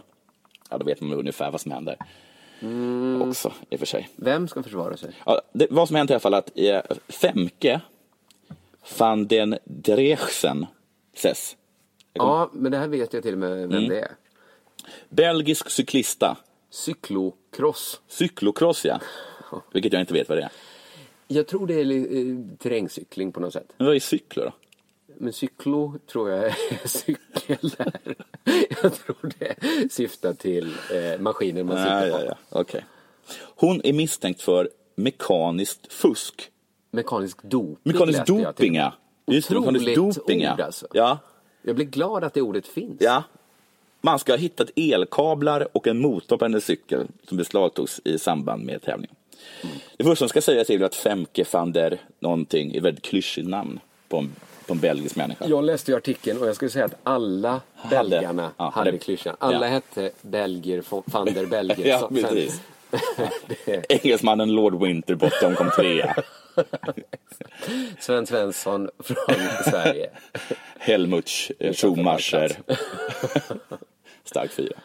Speaker 5: Ja, då vet man ungefär vad som händer. Också, i och för sig.
Speaker 6: Vem ska försvara sig?
Speaker 5: Ja, det, vad som hänt i alla fall är att eh, Femke van den Drechsen ses.
Speaker 6: Ja, men det här vet jag till och med vem
Speaker 5: Mm.
Speaker 6: det är.
Speaker 5: Belgisk cyklista.
Speaker 6: Cyklokross.
Speaker 5: Cyklocross, ja. Vilket jag inte vet vad det är.
Speaker 6: Jag tror det är eh, terrängcykling på något sätt.
Speaker 5: Men vad är cyklo då?
Speaker 6: Men cyklo tror jag är cykel där. Jag tror det syftar till eh, maskinen man
Speaker 5: Ja,
Speaker 6: sitter på.
Speaker 5: Ah, ja, ja. Okej. Hon är misstänkt för mekaniskt fusk.
Speaker 6: Mekanisk doping
Speaker 5: Mekaniskt
Speaker 6: läste jag till.
Speaker 5: doping, ja. Just det, mekanisk
Speaker 6: Otroligt alltså.
Speaker 5: doping, ja.
Speaker 6: ord, alltså.
Speaker 5: Ja,
Speaker 6: Jag blir glad att det ordet finns.
Speaker 5: ja. Man ska ha hittat elkablar och en motor på hennes cykel som beslagtogs i samband med tävlingen.
Speaker 6: Mm.
Speaker 5: Det första som ska sägas är väl att Femke van der någonting är ett väldigt klyschigt namn på en, på en belgisk människa.
Speaker 6: Jag läste ju artikeln och jag skulle säga att alla
Speaker 5: Hade-
Speaker 6: belgarna
Speaker 5: ja,
Speaker 6: hade,
Speaker 5: hade-
Speaker 6: klyschan. Alla
Speaker 5: ja.
Speaker 6: hette Belgier, van der Belgier.
Speaker 5: Ja,
Speaker 6: Så- sen-
Speaker 5: precis.
Speaker 6: Det-
Speaker 5: Engelsmannen Lord Winterbottom kom trea.
Speaker 6: Sven Svensson från Sverige.
Speaker 5: Helmut eh, Schumacher. Stark fyra.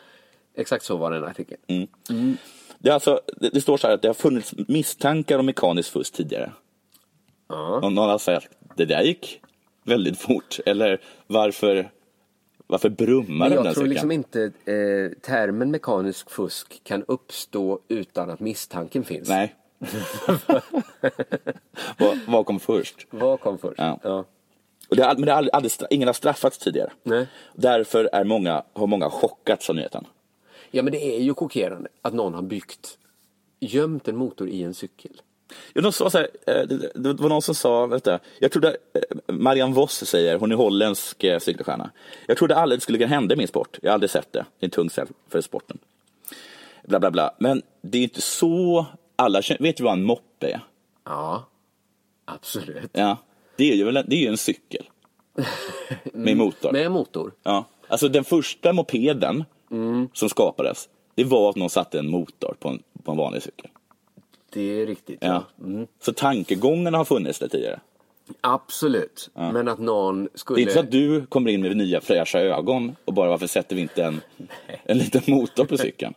Speaker 6: Exakt så var den artikeln.
Speaker 5: Mm. Det, är alltså, det, det står så här att det har funnits misstankar om mekaniskt fusk tidigare. Och någon har sagt det där gick väldigt fort. Eller varför, varför brummar
Speaker 6: Men
Speaker 5: den
Speaker 6: jag
Speaker 5: den
Speaker 6: tror
Speaker 5: cykeln?
Speaker 6: liksom inte eh, termen mekanisk fusk kan uppstå utan att misstanken finns.
Speaker 5: Nej. vad, vad kom först?
Speaker 6: Vad kom först?
Speaker 5: Ja. Och det, har- men det har aldrig, aldrig, stra- ingen har straffats tidigare.
Speaker 6: Nej.
Speaker 5: Därför är många, har många chockats av nyheten.
Speaker 6: Ja, men det är ju chockerande att någon har byggt, gömt en motor i en cykel.
Speaker 5: Ja, de sa så här, eh, det, det var någon som sa, vänta, jag trodde, eh, Marianne Voss säger, hon är holländsk eh, cykelstjärna. Jag trodde aldrig det skulle kunna hända i min sport. Jag har aldrig sett det. Det är en tung sak för sporten. Bla, bla, bla. Men det är inte så, alla känner, vet ju vad en moppe är?
Speaker 6: Ja, absolut.
Speaker 5: Ja. Det är ju, väl en, det är ju en cykel. Med motor.
Speaker 6: Med motor.
Speaker 5: Ja. Alltså den första mopeden som skapades, det var att någon satte en motor på en, på en vanlig cykel.
Speaker 6: Det är riktigt.
Speaker 5: Ja. Så tankegångarna har funnits där tidigare.
Speaker 6: Absolut. Men att någon
Speaker 5: Det är
Speaker 6: skulle...
Speaker 5: inte så att du kommer in med nya fräscha ögon och bara varför sätter vi inte en, en liten motor på cykeln?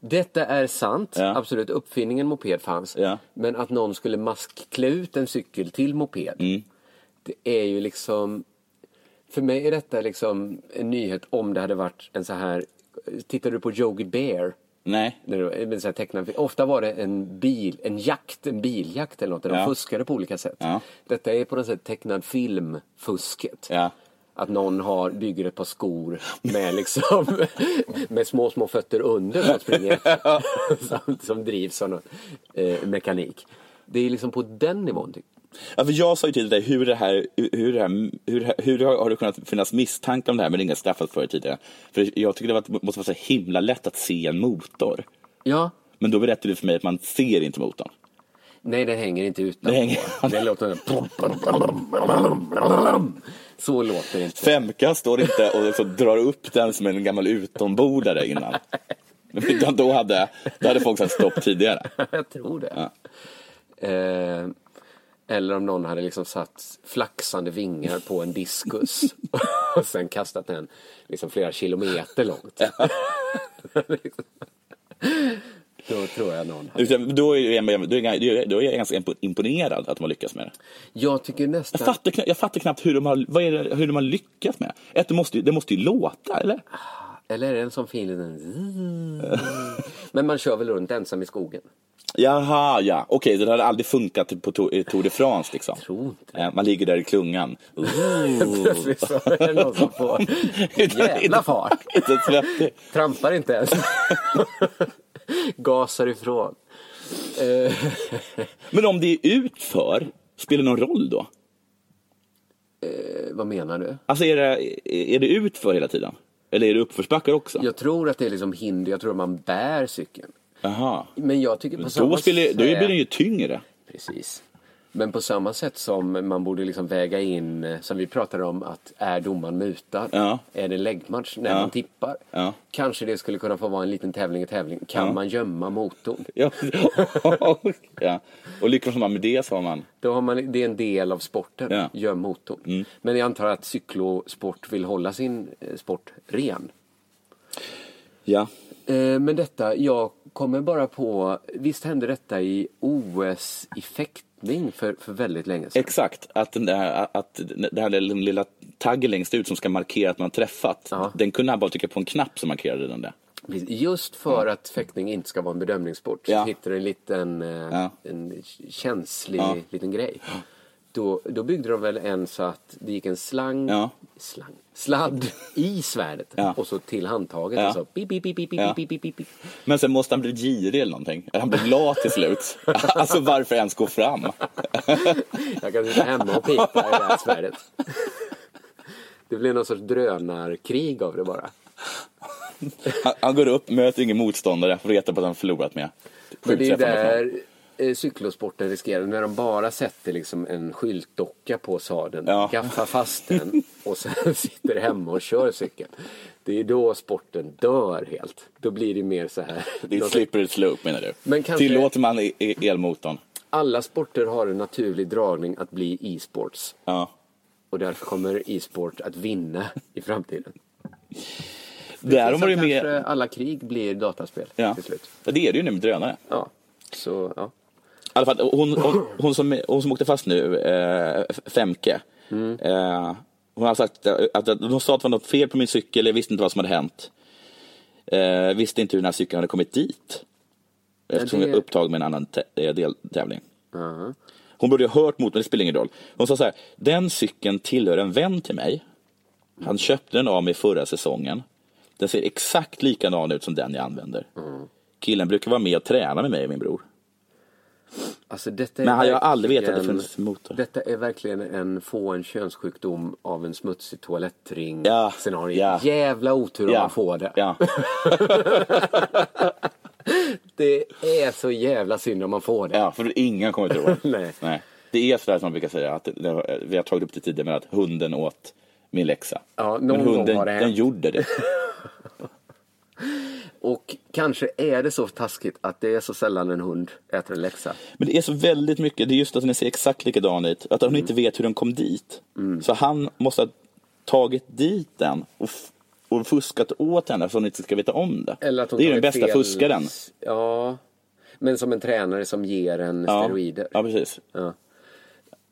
Speaker 6: Detta är sant.
Speaker 5: Ja.
Speaker 6: Absolut. Uppfinningen moped fanns.
Speaker 5: Ja.
Speaker 6: Men att någon skulle maskklä ut en cykel till moped.
Speaker 5: Mm.
Speaker 6: Det är ju liksom... För mig är detta liksom en nyhet om det hade varit en så här... Tittar du på Yogi Bear?
Speaker 5: Nej,
Speaker 6: När det var- men så här tecknade- Ofta var det en bil, en jakt, en biljakt eller något där de
Speaker 5: Ja.
Speaker 6: fuskade på olika sätt.
Speaker 5: Ja.
Speaker 6: Detta är på något sätt tecknad film-fusket.
Speaker 5: Ja.
Speaker 6: Att någon har, bygger ett par skor med, liksom, med små, små fötter under som springer efter. som, som drivs av någon, eh, mekanik. Det är liksom på den nivån. tycker jag.
Speaker 5: ja, för jag sa ju till dig hur, det här, hur, hur, det här, hur, det här- hur har, har det kunnat finnas misstankar om det här men ingen straffat för det tidigare? För jag tycker det var, måste vara så himla lätt att se en motor.
Speaker 6: Ja,
Speaker 5: Men då berättade du för mig att man ser inte motorn.
Speaker 6: nej den hänger inte utanpå.
Speaker 5: Det hänger-
Speaker 6: Det låter... Så låter det inte.
Speaker 5: Femka står inte och så drar upp den som en gammal utombordare innan. Utan då hade, då hade folk sagt stopp tidigare.
Speaker 6: jag tror det. Eh, eller om någon hade liksom satt flaxande vingar på en diskus och sen kastat den liksom flera kilometer långt. Då tror jag någon hade...
Speaker 5: Utan Då är jag, då är jag, då är jag ganska imponerad att de har lyckats med det.
Speaker 6: Jag tycker
Speaker 5: Jag
Speaker 6: nästan...
Speaker 5: fattar, knappt- jag fattar knappt hur de har, vad är det, hur de har lyckats med det. Ett, det, måste, ju- det måste ju låta, eller?
Speaker 6: Eller är det en sån fin liten... Men man kör väl runt ensam i skogen?
Speaker 5: Jaha, ja. Okej, det hade aldrig funkat på Tour, i Tour de France. Liksom.
Speaker 6: tror inte
Speaker 5: Eh, Man ligger där i klungan.
Speaker 6: Plötsligt så är det någon som får en jävla fart.
Speaker 5: Inte svettig.
Speaker 6: Trampar inte ens. Gasar ifrån.
Speaker 5: Men om det är utför, spelar det någon roll då?
Speaker 6: Eh, vad menar du?
Speaker 5: Alltså är det, är det utför hela tiden? Eller är det uppförsbackar också?
Speaker 6: Jag tror att det är liksom hinder, jag tror att man bär cykeln.
Speaker 5: Jaha.
Speaker 6: Men jag tycker på samma
Speaker 5: Då, spelar, då blir den
Speaker 6: sätt-
Speaker 5: ju tyngre.
Speaker 6: Precis. Men på samma sätt som man borde liksom väga in, eh, som vi pratade om, att är domaren mutad?
Speaker 5: Ja.
Speaker 6: Är det läggmatch när
Speaker 5: Ja.
Speaker 6: man tippar?
Speaker 5: Ja.
Speaker 6: Kanske det skulle kunna få vara en liten tävling i tävling. Kan man gömma motorn?
Speaker 5: Ja. ja. Och lyckas man med det så har man...
Speaker 6: Då har man, det är en del av sporten,
Speaker 5: Ja. Mm.
Speaker 6: göm motorn. Men jag antar att cyklosport vill hålla sin eh, sport ren.
Speaker 5: Ja.
Speaker 6: Eh, Men detta, jag kommer bara på, visst hände detta i OS i fäktning för, för väldigt länge sedan?
Speaker 5: Exakt, att, den där, att det här lilla lilla taggen längst ut som ska markera att man träffat,
Speaker 6: Ja.
Speaker 5: den kunde han bara trycka på en knapp som markerade den där.
Speaker 6: Precis. Just för att fäktning inte ska vara en bedömningssport
Speaker 5: Ja.
Speaker 6: så hittar en liten eh,
Speaker 5: Ja.
Speaker 6: en känslig
Speaker 5: Ja.
Speaker 6: liten grej. Då, då byggde de väl en så att det gick en slang,
Speaker 5: Ja.
Speaker 6: slang sladd i svärdet
Speaker 5: Ja.
Speaker 6: och så till handtaget
Speaker 5: Ja.
Speaker 6: och så pip, pip, pip, pip,
Speaker 5: Ja.
Speaker 6: pip, pip, pip, pip.
Speaker 5: Men sen måste han bli girig eller någonting, han blir lat till slut. alltså varför ens gå fram?
Speaker 6: Jag kan sitta hemma och pipa i det här svärdet. Det blev någon sorts drönarkrig av det bara.
Speaker 5: Han, han går upp, möter ingen motståndare, får reta på att han förlorat med.
Speaker 6: Men det är
Speaker 5: Sjukt träffande.
Speaker 6: där eh, cykelsporten riskerar, när de bara sätter liksom en skyltdocka på sadeln,
Speaker 5: Ja.
Speaker 6: gaffar fast den och sen sitter hemma och kör cykeln. Det är då sporten dör helt. Då blir det mer så här.
Speaker 5: Det är ett slippery slope menar du?
Speaker 6: Men kanske-
Speaker 5: Tillåter man i- i- elmotorn?
Speaker 6: Alla sporter har en naturlig dragning att bli e-sports.
Speaker 5: Ja.
Speaker 6: Och därför kommer e-sport att vinna i framtiden.
Speaker 5: Där har
Speaker 6: Så
Speaker 5: man ju
Speaker 6: kanske
Speaker 5: med...
Speaker 6: alla krig blir dataspel
Speaker 5: Ja.
Speaker 6: till slut.
Speaker 5: ja, det är det ju nu med drönare.
Speaker 6: Ja. Så, ja.
Speaker 5: I alla fall, hon, hon, hon, som, hon som åkte fast nu, eh, F- Femke, eh, hon har sagt att, att de sa att det var något fel på min cykel, jag visste inte vad som hade hänt. Eh, visste inte hur den här cykeln hade kommit dit. Eftersom
Speaker 6: det-
Speaker 5: jag är upptagen med en annan tä- eh, deltävling. Hon borde ha hört mot men det spelar ingen roll. Hon sa så här, den cykeln tillhör en vän till mig. Han köpte den av mig förra säsongen. Den ser exakt likadan ut som den jag använder. Killen brukar vara med och träna med mig och min bror.
Speaker 6: Alltså detta är
Speaker 5: Men jag har aldrig vetat att det
Speaker 6: verkligen-
Speaker 5: funnits motor.
Speaker 6: Detta är verkligen en få en könssjukdom av en smutsig toalettring
Speaker 5: Ja,
Speaker 6: scenario.
Speaker 5: ja.
Speaker 6: Jävla otur om man får det.
Speaker 5: Ja.
Speaker 6: Det är så jävla synd om man får det.
Speaker 5: ja, för ingen kommer tro det.
Speaker 6: Nej.
Speaker 5: Nej. Det är sådär som man brukar säga, att det- det, eh, vi har tagit upp det tidigare, men att hunden åt min läxa.
Speaker 6: Ja, någon
Speaker 5: men
Speaker 6: gång
Speaker 5: hunden,
Speaker 6: har det hänt.
Speaker 5: den gjorde det.
Speaker 6: Och kanske är det så taskigt att det är så sällan en hund äter en läxa.
Speaker 5: Men det är så väldigt mycket, det är just att den ser exakt likadan ut, att hon
Speaker 6: Mm.
Speaker 5: inte vet hur den kom dit. Så han måste ha tagit dit den och, f- och fuskat åt henne så hon inte ska veta om det.
Speaker 6: Eller att hon
Speaker 5: det är ju den
Speaker 6: tagit
Speaker 5: bästa
Speaker 6: fel-
Speaker 5: fuskaren.
Speaker 6: Ja, men som en tränare som ger en steroider.
Speaker 5: Ja, precis.
Speaker 6: Ja.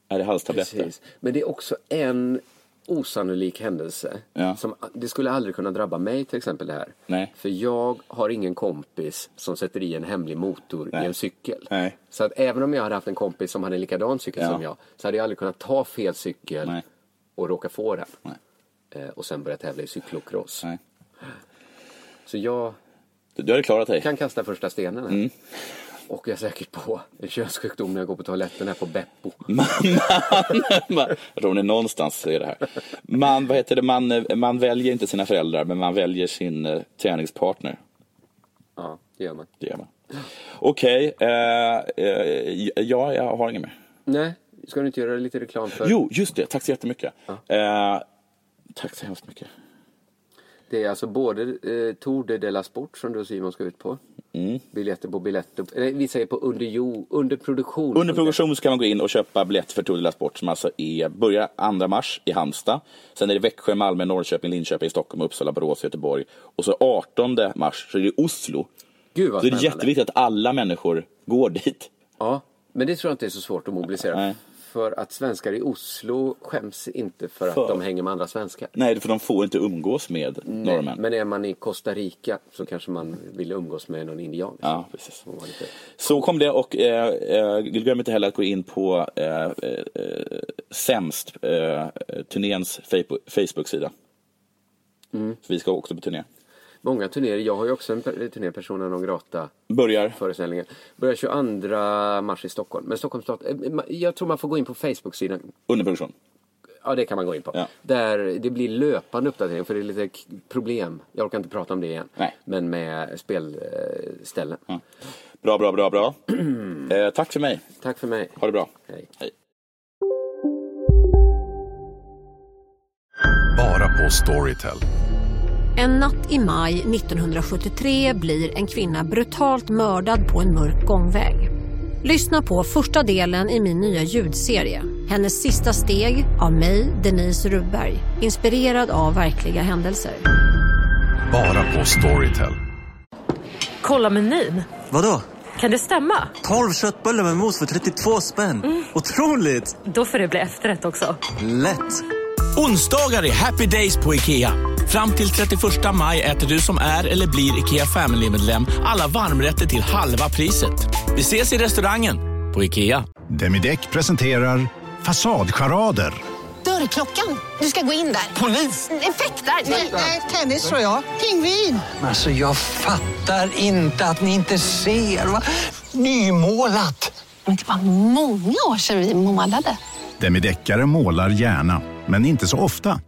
Speaker 5: Är det halstabletter?
Speaker 6: Precis. Men det är också en osannolik händelse.
Speaker 5: Ja.
Speaker 6: Som, det skulle aldrig kunna drabba mig till exempel det här.
Speaker 5: Nej.
Speaker 6: För jag har ingen kompis som sätter i en hemlig motor i
Speaker 5: Nej.
Speaker 6: en cykel.
Speaker 5: Nej.
Speaker 6: Så att även om jag hade haft en kompis som hade en likadan cykel
Speaker 5: Ja.
Speaker 6: som jag så hade jag aldrig kunnat ta fel cykel
Speaker 5: Nej.
Speaker 6: och råka få den.
Speaker 5: Nej.
Speaker 6: Eh, Och sen börja tävla i cyklocross.
Speaker 5: Nej.
Speaker 6: Så jag
Speaker 5: Du, du hade klarat dig.
Speaker 6: kan kasta första stenen här.
Speaker 5: Mm.
Speaker 6: Och jag är säkert på en könssjukdom när jag går på toaletten här på Beppo.
Speaker 5: Mm. man, jag tror hon är någonstans så är det här. Man, vad heter det? Man, eh, man väljer inte sina föräldrar, men man väljer sin eh, träningspartner.
Speaker 6: Ja, det gör man.
Speaker 5: Det gör man. Okej, eh, eh, ja, jag har inget mer.
Speaker 6: Nej, ska du inte göra lite reklam för?
Speaker 5: Jo, just det. Tack så jättemycket. Eh, tack så hemskt mycket.
Speaker 6: Det är alltså både eh, Tour de, de la Sport som du och Simon ska ut på.
Speaker 5: Mm.
Speaker 6: Biljetter på biljetter. Nej, vi säger på under, jo, under produktion.
Speaker 5: Under progression så kan man gå in och köpa biljett för Tour de la Sport som alltså är, börjar 2 mars i Halmstad. Sen är det Växjö, Malmö, Norrköping, Linköping, Stockholm, Uppsala, Borås, Göteborg. Och så 18 mars så är det Oslo.
Speaker 6: Gud vad
Speaker 5: Så det är
Speaker 6: spännande.
Speaker 5: jätteviktigt att alla människor går dit.
Speaker 6: Ja, men det tror jag inte är så svårt att mobilisera.
Speaker 5: Nej.
Speaker 6: För att svenskar i Oslo skäms inte för att
Speaker 5: För-
Speaker 6: de hänger med andra svenskar.
Speaker 5: Nej, för de får inte umgås med norrmän.
Speaker 6: Men är man i Costa Rica så kanske man vill umgås med någon indian.
Speaker 5: Ja, precis.
Speaker 6: Och vara lite-
Speaker 5: Så kom det och eh, eh, glöm inte heller att gå in på eh, eh, eh, Sämst, eh, turnéns Facebook- Facebook-sida.
Speaker 6: Mm.
Speaker 5: För vi ska också på turné.
Speaker 6: Många turnéer, jag har ju också en per- turné Persona non grata
Speaker 5: Börjar
Speaker 6: föreställningen. Börjar 22 mars i Stockholm. Men Stockholms stad, eh, ma- jag tror man får gå in på Facebook-sidan
Speaker 5: under produktion.
Speaker 6: Ja, det kan man gå in på.
Speaker 5: Ja.
Speaker 6: Där det blir löpande uppdatering, för det är lite k- problem. Jag orkar inte prata om det igen.
Speaker 5: Nej.
Speaker 6: Men med spelställen.
Speaker 5: Bra, bra, bra, bra. eh, tack för mig.
Speaker 6: Tack för mig.
Speaker 5: Ha det bra.
Speaker 6: Hej.
Speaker 3: Bara på Storytel.
Speaker 8: En natt i maj 1973 blir en kvinna brutalt mördad på en mörk gångväg. Lyssna på första delen i min nya ljudserie. Hennes sista steg av mig, Denise Rubberg. Inspirerad av verkliga händelser.
Speaker 3: Bara på Storytel.
Speaker 9: Kolla menyn.
Speaker 10: Vadå?
Speaker 9: Kan det stämma?
Speaker 10: 12 köttbullar med mos för 32 spänn.
Speaker 2: Mm.
Speaker 10: Otroligt!
Speaker 9: Då får det bli efterrätt också.
Speaker 10: Lätt!
Speaker 11: Onsdagar är happy days på IKEA. Fram till 31 maj äter du som är eller blir IKEA Family-medlem alla varmrätter till halva priset. Vi ses i restaurangen på IKEA.
Speaker 3: Demideck presenterar Fasadcharader.
Speaker 4: Dörrklockan. Du ska gå in där. Polis? Effektar? Nej, nej, tennis tror jag. Pingvin.
Speaker 10: Alltså, jag fattar inte att ni inte ser. Va? Nymålat!
Speaker 4: Men det var många år sedan vi målade.
Speaker 3: Demideckare målar gärna, men inte så ofta.